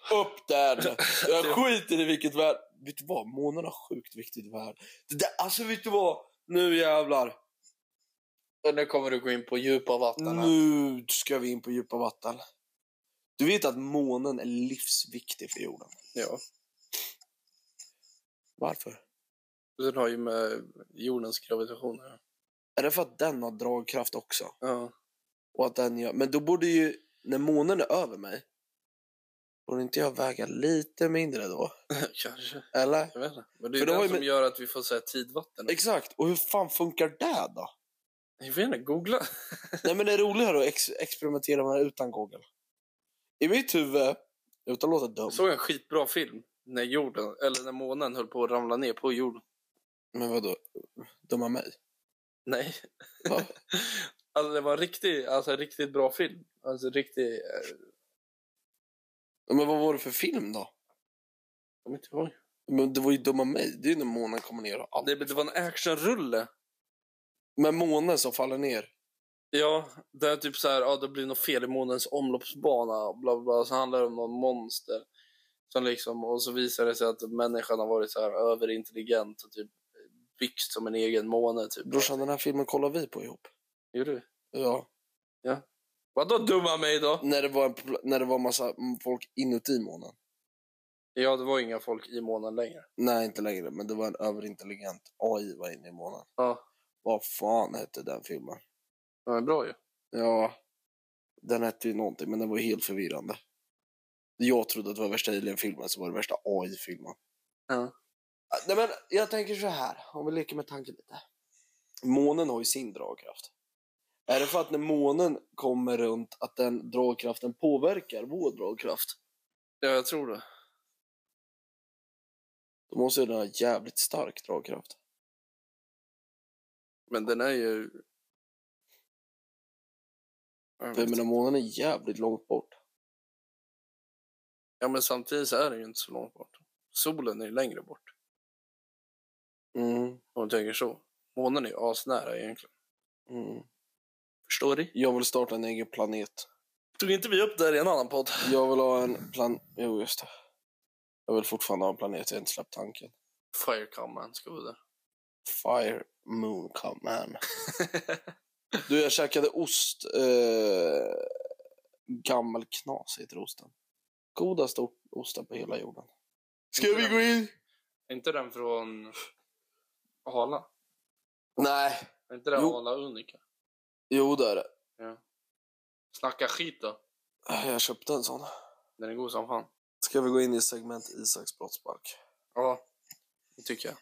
upp den! Jag skiter i vilket värld... Vet du vad? Månen har sjukt viktigt värld. Det där, alltså vet du vad? Nu jävlar!
Och nu kommer du gå in på djupa vatten här.
Nu ska vi in på djupa vatten. Du vet att månen är livsviktig för jorden.
Ja.
Varför?
Den har ju med jordens gravitation att göra.
Är det för att den har dragkraft också?
Ja.
Och att den gör... Men då borde ju... När månen är över mig, borde inte jag väga lite mindre då?
Kanske.
Eller?
Jag vet inte. Men det är
För
ju
det
det
har
som
ju med-
gör att vi får säga tidvatten.
Exakt, och hur fan funkar det då?
Jag vet inte, googla.
Nej men det är roligare att ex- experimentera med det utan Google. I mitt huvud, utan att låta dum,
Jag såg en skitbra film när jorden, eller när månen höll på att ramla ner på jorden.
men vadå, dumma mig?
Nej.
Va?
alltså det var en riktig, alltså en riktigt bra film. Alltså riktig, eh,
Ja, Men vad var det för film då?
jag kommer inte ihåg.
Men det var ju dumma mig, det är ju när månen kommer ner och allt.
Det, det var en actionrulle.
Men månen som faller ner,
Ja, det är typ så här, ja det blir något fel i månens omloppsbana, bla bla bla. Så handlar det om någon monster. Som liksom, och så visar det sig att människan har varit så här överintelligent och typ byggt som en egen måne typ.
brorsan den här filmen kollar vi på ihop.
Gjorde du?
Ja,
Vadå dumma mig då?
när det var, en, pl- när det var massa folk inuti månen.
Ja, det var inga folk i månen längre.
Nej, inte längre, men det var en överintelligent AI var inne i månen.
Ja,
Vad fan hette den filmen?
det var bra ju.
Ja, den hette ju någonting, men den var ju helt förvirrande. Jag trodde att det var värsta Alien-filmen, så var det värsta AI-filmen.
Ja.
Ah, Nej, men jag tänker så här, om vi leker med tanken lite. Månen har ju sin dragkraft. Är det för att när månen kommer runt att den dragkraften påverkar vår dragkraft,
Ja, jag tror det.
då måste ju den ha jävligt stark dragkraft.
Men den är ju... Jag
För jag
vet
menar,
inte.
månen är jävligt långt bort.
Ja, men samtidigt så är den ju inte så långt bort. Solen är ju längre bort.
Mm.
Om du tänker så. Månen är ju asnära egentligen.
Mm.
Förstår du?
Jag vill starta en egen planet.
Tog inte vi upp det här i en annan podd?
Jag vill ha en plan... Jo, just det. Jag vill fortfarande ha en planet. Jag har inte släppt tanken.
Fire Command ska vara där.
Fire Moon Command. du, jag käkade ost. Eh... Gammal knas heter osten. Godaste o- osten på hela jorden.
Ska vi gå
in?
Är inte den från Arla?
Nej.
Är inte den
Jo.
Arla Unika?
Jo, det är det.
Snacka skit då.
Jag köpte en sån.
Den är god som fan.
Ska vi gå in i segment Isaks brottsbalk?
Ja, det tycker jag.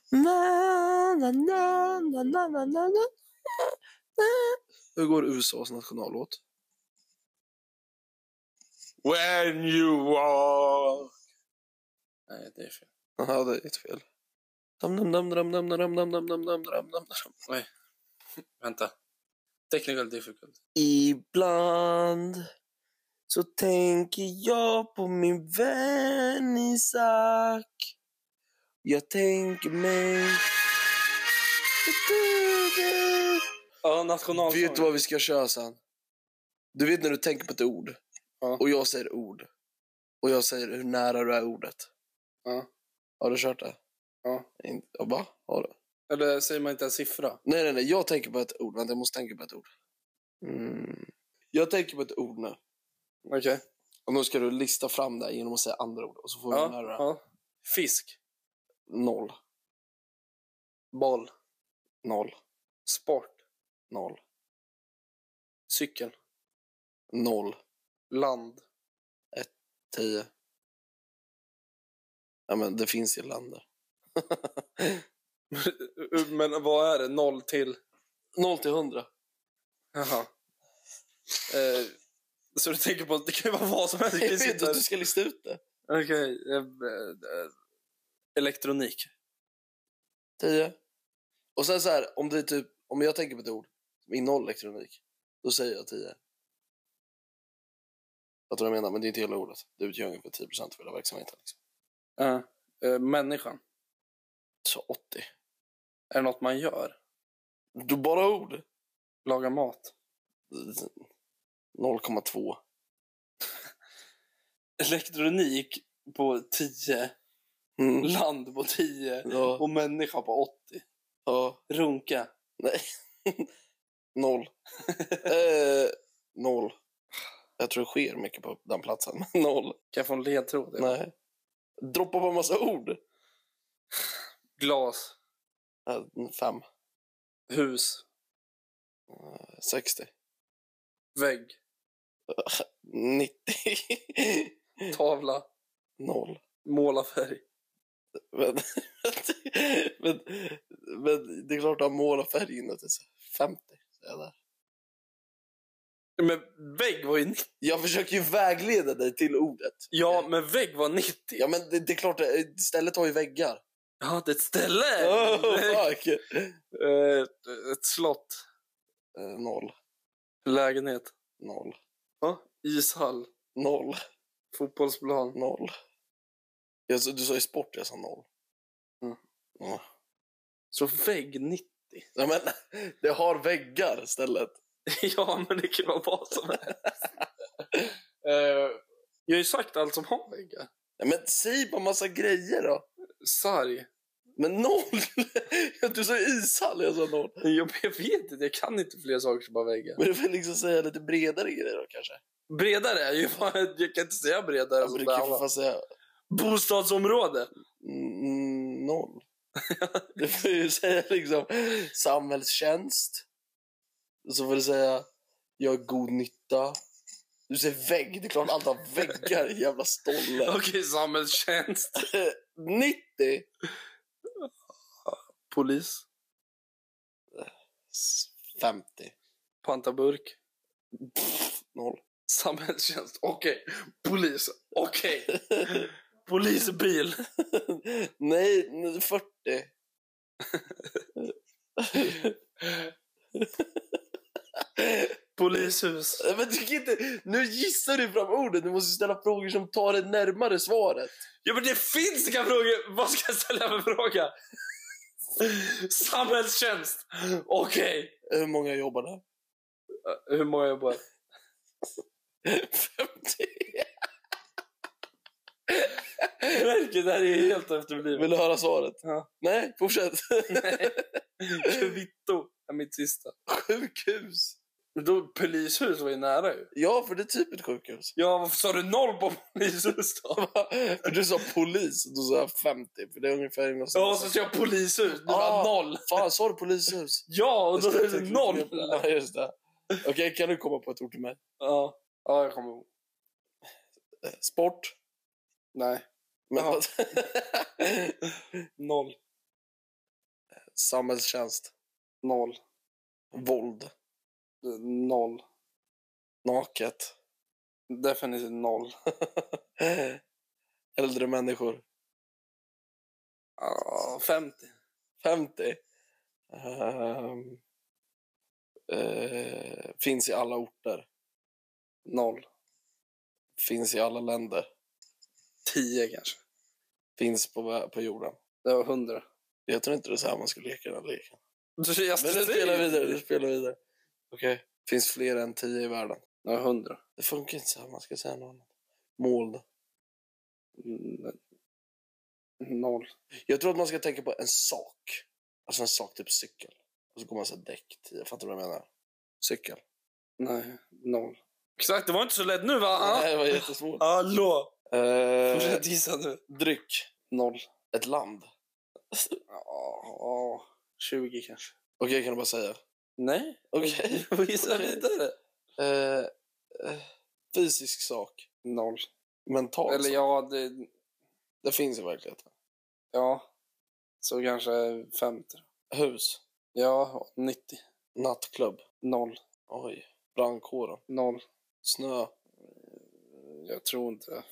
Hur går USAs nationallåt?
When you walk... Nej, det är fel.
Ja, det är inte fel. Dam, dam, dam, dam, dam, dam, dam, dam, dam, dam, dam, dam, dam.
Vänta. Technical difficult.
Ibland så tänker jag på min vän Isak. Jag tänker mig...
Ja, nationalsång.
Vet du vad vi ska köra sen? Du vet när du tänker på ett ord
Ja.
och jag säger ord och jag säger hur nära du är ordet.
Ja.
Har du kört det?
Ja.
In- ja, Va? Har du?
Eller säger man inte en siffra?
Nej, nej, nej. Jag tänker på ett ord. Vänta, jag måste tänka på ett ord. Mm. Jag tänker på ett ord nu.
Okej.
Och nu ska du lista fram det genom att säga andra ord och så får du
Ja,
nära det.
ja. Fisk.
Noll,
Boll.
noll,
Sport.
noll,
Cykel.
noll,
Land.
tio. Ja, men det finns ju länder.
Men vad är det? Noll till?
Noll till hundra.
Jaha. Eh, så du tänker på... Det kan ju vara vad som helst. Det kan ju
Jag vet
sitta-
att du ska lista ut det.
Okej. eh, eh, elektronik.
Tio. Och sen så här, om det är typ, om jag tänker på ett ord som innehåller elektronik, då säger jag tio. Fattar du vad jag menar? Men det är inte hela ordet. Det utgör ungefär 10 procent av hela verksamheten. Liksom.
Ja. Eh, människan.
Så 80.
Är det något man gör?
Du bara ord?
Laga mat.
0,2.
Elektronik på 10.
Mm.
Land på 10.
Ja.
Och människa på 80.
ja.
Runka.
Nej. Noll. eh, noll. Jag tror det sker mycket på den platsen. men Noll.
Kan jag få en ledtråd?
Nej. Droppa på en massa ord.
Glas.
Eh, Fem.
Hus.
Eh, 60.
Vägg.
90.
Mm. Tavla.
Noll.
Målarfärg.
Men, men, men det är klart att måla färgen. att det är så här 50. så jag där.
Men vägg var ju 90.
Jag försöker ju vägleda dig till ordet.
Ja, men vägg var 90.
Ja, men det, det är klart, det- stället har ju väggar.
Ja, det är ett ställe!
Oh, fuck.
Eh, ett slott.
Eh, Noll.
Lägenhet.
Noll.
Ishall.
Noll.
Fotbollsplan.
Noll. Jag, sa- du sa ju sport, jag sa noll.
Så vägg 90.
Ja, men, det har väggar stället.
ja, men det kan vara vad som helst. Eh, jag har ju sagt allt som har väggar.
Ja, men säg bara massa grejer då.
Sarg.
Men noll! Du sa ju ishall, jag sa noll.
Jag, jag vet inte, jag kan inte fler saker som har väggar.
Men du får liksom säga lite bredare grejer då kanske.
Bredare är ju bara... Jag kan inte säga bredare.
Ja, men du kan ju för fan säga
Bostadsområde!
mm, noll. Du får ju säga liksom samhällstjänst. Och så får du säga jag har god nytta. Du säger vägg, det är klart allt har väggar jävla stolle.
Okej, samhällstjänst.
90!
Polis.
50.
Pantaburk.
Pff, noll.
Samhällstjänst. Okej. Polis. Okej. Polisbil.
Nej, nu 40.
Polishus.
Nej, Men du kan inte, nu gissar du fram ordet. Du måste ställa frågor som tar dig närmare svaret.
Ja men det finns inga frågor! Vad ska jag ställa för fråga? Samhällstjänst! Okej.
Hur många jobbar där?
Hur många jobbar?
50.
Verket, det här är helt efterblivet.
Vill du höra svaret?
Ja.
Nej, fortsätt.
Kvitto är mitt sista.
Sjukhus.
Då, polishus var ju nära ju.
Ja, för det är typ ett sjukhus.
Ja, varför sa du noll på polishus då?
För du sa polis, då sa jag 50. För det är ungefär inom
Ja, så sa jag polishus. Du
Ah.
var noll.
Fan, sa du polishus?
Ja, och då är det noll.
Ja, just det. Okej, kan du komma på ett ord till mig?
Ja. ja, jag kommer ihåg.
Eh, Sport?
Nej.
Men,
Ja. Noll.
Samhällstjänst?
Noll.
Våld?
Noll.
Naket?
Definitivt noll.
Äldre människor?
Ja, 50.
50? Ehm, eh, finns i alla orter?
Noll.
Finns i alla länder?
10 kanske.
Finns på, vä- på jorden?
Det var 100.
Jag tror inte det är så här man ska leka den här leken.
Du, jag
Men du spelar vidare, du spelar vidare. Okej. Finns fler än tio i världen?
Det var 100.
Det funkar inte så här, man ska säga något annat. Moln.
Mm, Noll.
Jag tror att man ska tänka på en sak. Alltså en sak, typ cykel. Och så går man så här däck, tio. Fattar du vad jag menar? Cykel.
Nej, noll. Exakt, det var inte så lätt nu va?
Nej, det var jättesvårt.
Hallå!
Eh,
Ah. Fortsätt gissa nu.
dryck.
Noll.
Ett land.
Ja, 20 kanske.
Okej, kan du bara säga?
Nej, Mm.
Okej.
gissa vidare.
Eh, eh, fysisk sak.
Noll.
Mental
Eller
sak.
ja, det,
Det finns i verkligheten.
ja. Så kanske 50.
Hus.
Ja, 90.
Nattklubb.
Noll.
Oj. Brandkåren.
Noll.
Snö.
Jag tror inte.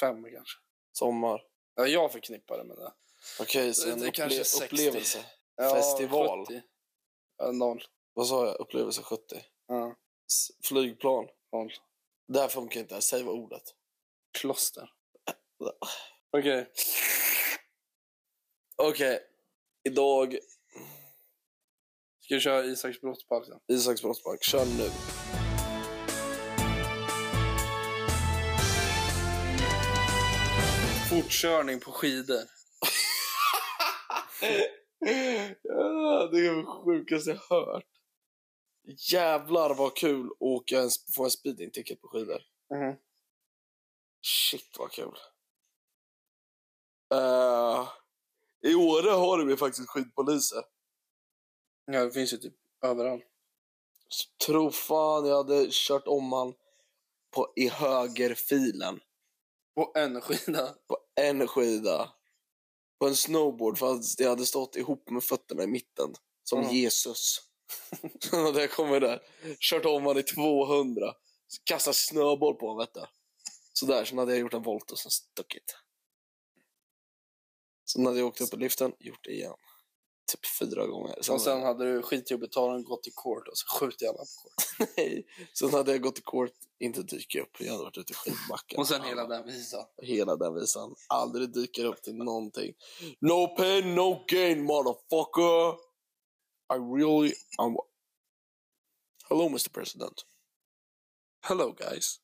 Fem kanske.
Sommar.
Ja, jag förknippar det med det.
Okej, så
Det-
en
det är
upple-
kanske 60.
upplevelse.
Ja,
Festival.
70. Ja, noll.
Vad sa jag? Upplevelse 70.
Ja.
S- flygplan.
Noll.
Det här funkar inte. Säg vad ordet.
Kloster. Okej.
Okej. Idag,
Ska vi köra Isaks brottsbalk då?
Isaks brottsbalk. Kör nu.
Fortkörning på skidor.
Ja, det är det sjukaste jag hört. Jävlar vad kul att åka en, få en speeding ticket på skidor.
Mhm.
Shit vad kul. Eh, I Åre har vi faktiskt skidpoliser.
Ja, det finns ju typ överallt.
Tro fan jag hade kört om han på, i högerfilen.
På en skida.
på en skida på en snowboard fast jag hade stått ihop med fötterna i mitten som
Mm.
Jesus. Och där kommer där. Kört om han i 200. Kastat snöboll på honom vet du. Sådär, sen hade jag gjort en volt och sen stuckit. Sen hade jag åkt upp i liften, gjort det igen. Typ fyra gånger. Sen,
Och sen hade du skitjobbigt talen gått till court och så skjuter jag alla på court.
nej. sen hade jag gått till court, inte dyker upp. Jag hade varit ute i skidbacken.
Och sen hela den visan.
hela den visan. Aldrig dyker upp till någonting. No pain, no gain, motherfucker! I really... I'm... Hello, Mr President.
Hello guys.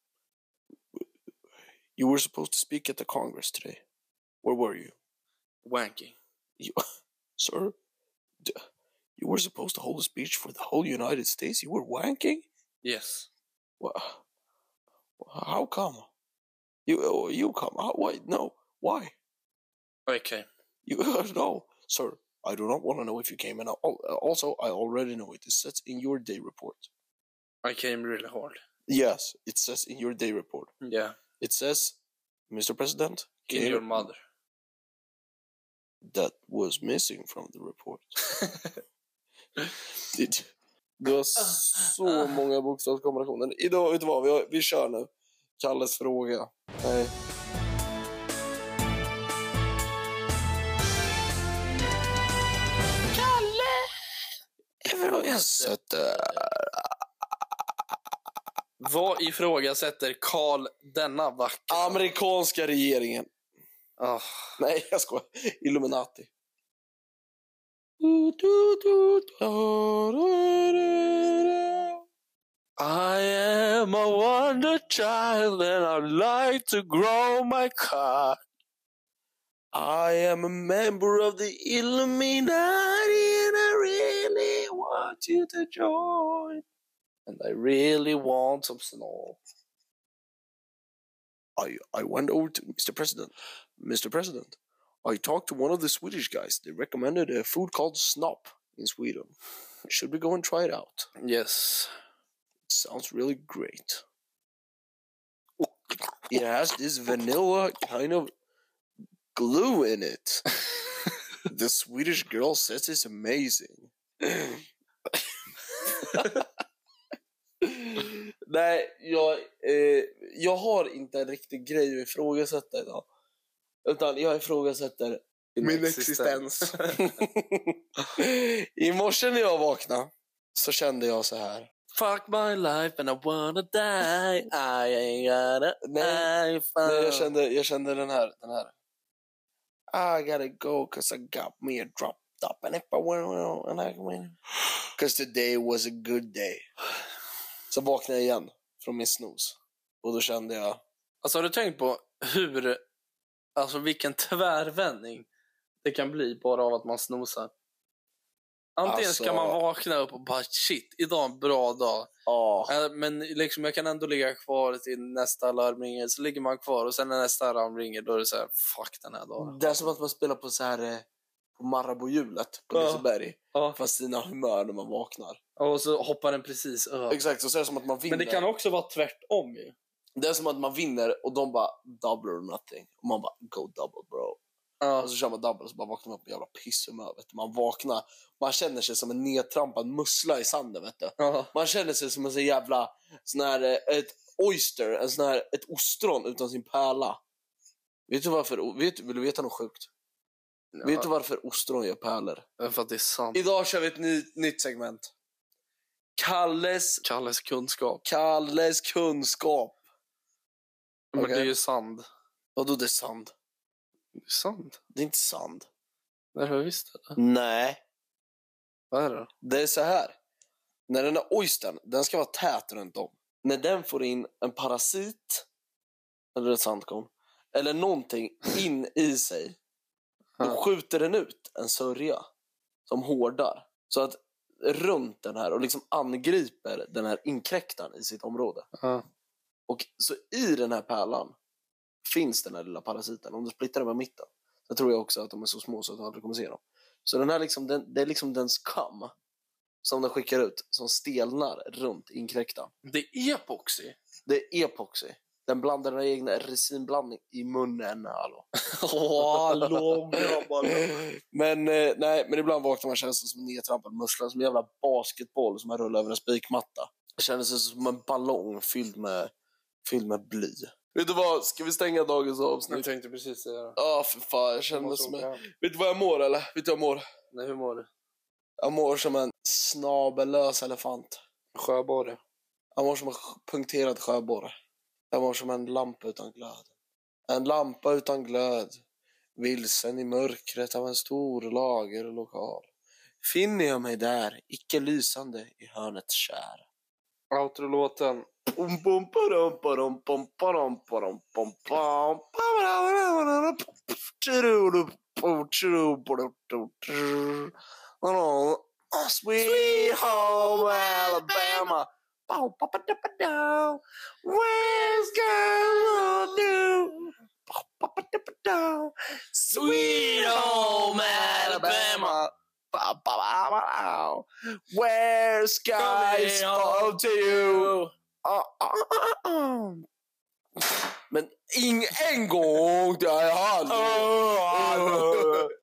You were supposed to speak at the Congress today. Where were you?
Wanking.
Sir? D- you were supposed to hold a speech for the whole United States? You were wanking?
Yes.
Wha How come? You, oh, you come? How, why? No. Why?
Okay.
You no, sir. I do not want to know if you came, and al- also I already know it. It says in your day report.
I came really hard.
Yes, it says in your day report.
Yeah.
It says, Mr. President,
Kill
can
your
you-"
mother.
That was missing from the report. Did you- Du har så många bokstavskombinationer. Idag, vet du vad? Vi, har, vi kör nu. Kalles fråga. Nej. Kalle! Jag sätter...
Vad ifrågasätter Karl denna vackra?
Amerikanska regeringen.
Ah.
Nej, jag skojar. Illuminati.
I am a wonder child and I'd like to grow my cock. I am a member of the Illuminati and I really want you to join.
And I really want some snow.
I, I went over to Mr. President. Mr. President, I talked to one of the Swedish guys. They recommended a food called snopp in Sweden. Should we go and try it out?
Yes.
It sounds really great. It has this vanilla kind of glue in it. the Swedish girl says it's amazing.
Nej, jag, eh, jag har inte en riktig grej att ifrågasätta idag. Utan jag ifrågasätter
Min existens.
I morse när jag vaknade så kände jag så här.
Fuck my life and I wanna die. I ain't gonna
Nej,
die.
nej jag, kände, jag kände den här. Den här. Ah, I gotta go cause I got me a dropped up and if I win and I win. Cause today was a good day. Så vaknade jag igen från min snooze. Och då kände jag.
Alltså har du tänkt på hur, alltså vilken tvärvändning det kan bli bara av att man snosar? Antingen ska
Alltså-
man vakna upp och bara shit, idag är en bra dag.
Ja.
Äh, Men liksom jag kan ändå ligga kvar till nästa alarm ringer, så ligger man kvar och sen när nästa alarm ringer då är det så här, fuck den här dagen.
eh, Det är som att man spelar på så här eh, på Marabouhjulet på
Ja.
Liseberg.
Ja.
Fast sina humör när man vaknar.
Och så hoppar den precis över.
Exakt, och så är det som att man vinner.
Men det kan också vara tvärtom ju.
Det är som att man vinner och de bara double or nothing. Och man bara go double bro.
Ja.
Och så kör man double och så bara vaknar man på jävla pisshumör. vet du. Man vaknar, man känner sig som en nedtrampad mussla i sanden. Vet du.
Ja.
Man känner sig som en sån jävla, sån här, eh, ett oyster, en sån här, ett ostron utan sin pärla. Vet du varför, vet, vill du veta något sjukt? Vet du varför ostron gör pärlor?
För att det är sant.
Idag kör vi ett ny, nytt segment. Kalles,
Kalles kunskap.
Kalles kunskap.
Men
Okej.
det är ju sand.
Vadå det är sand?
Sand?
Det är inte sand.
Nej, men visst är det.
Nej.
Vad är det då?
Det är så här. När den här oystern, den ska vara tät runt om. När den får in en parasit, eller ett sandkorn, eller någonting in i sig, då
Ja.
skjuter den ut en sörja som hårdar. Så att runt den här och liksom angriper den här inkräktaren i sitt område.
Ja.
Och så i den här pärlan finns den här lilla parasiten. Om du splittar den med mitten så tror jag också att de är så små så att du aldrig kommer se dem. Så den här liksom, den, det är liksom dens kam som den skickar ut som stelnar runt inkräktaren.
Det är epoxy.
Det är epoxy. Den blandar den egna resinblandning i munnen. Hallå.
Hallå
Men, eh, nej, men ibland vaknar man känner sig som en nedtrampad mussla, som en jävla basketboll som man rullar över en spikmatta. Jag känner sig som en ballong fylld med, fylld med bly. Vet du vad, ska vi stänga dagens
Jag
avsnitt?
tänkte precis säga det.
Ja, för fan, jag känner mig som en... Vet du vad jag mår eller? Vet du vad jag mår?
Nej, hur mår du?
Jag mår som en snabellös elefant.
Sjöborre.
Jag mår som en punkterad sjöborre. Jag mår som en lampa utan glöd. En lampa utan glöd. Vilsen i mörkret av en stor lagerlokal. Finner jag mig där, icke lysande i hörnets skär.
Outro-låten.
Pum, pum, parum, parum, pum, parum, parum, pum, pam, pabarabarabarabara, tjururu, pum, tjururu, pum, tjururu, tjururu. Oh, Sweet home Alabama. Bow, ba, ba, da, ba, da. Where's gonna do? Bow, ba, ba, da, ba, da. Sweet home Alabama. Bow, ba, ba, ba, da. Where skies
Coming
fall
home
to you. Ah, ah, ah, ah. Men ing, en gång där jag hade...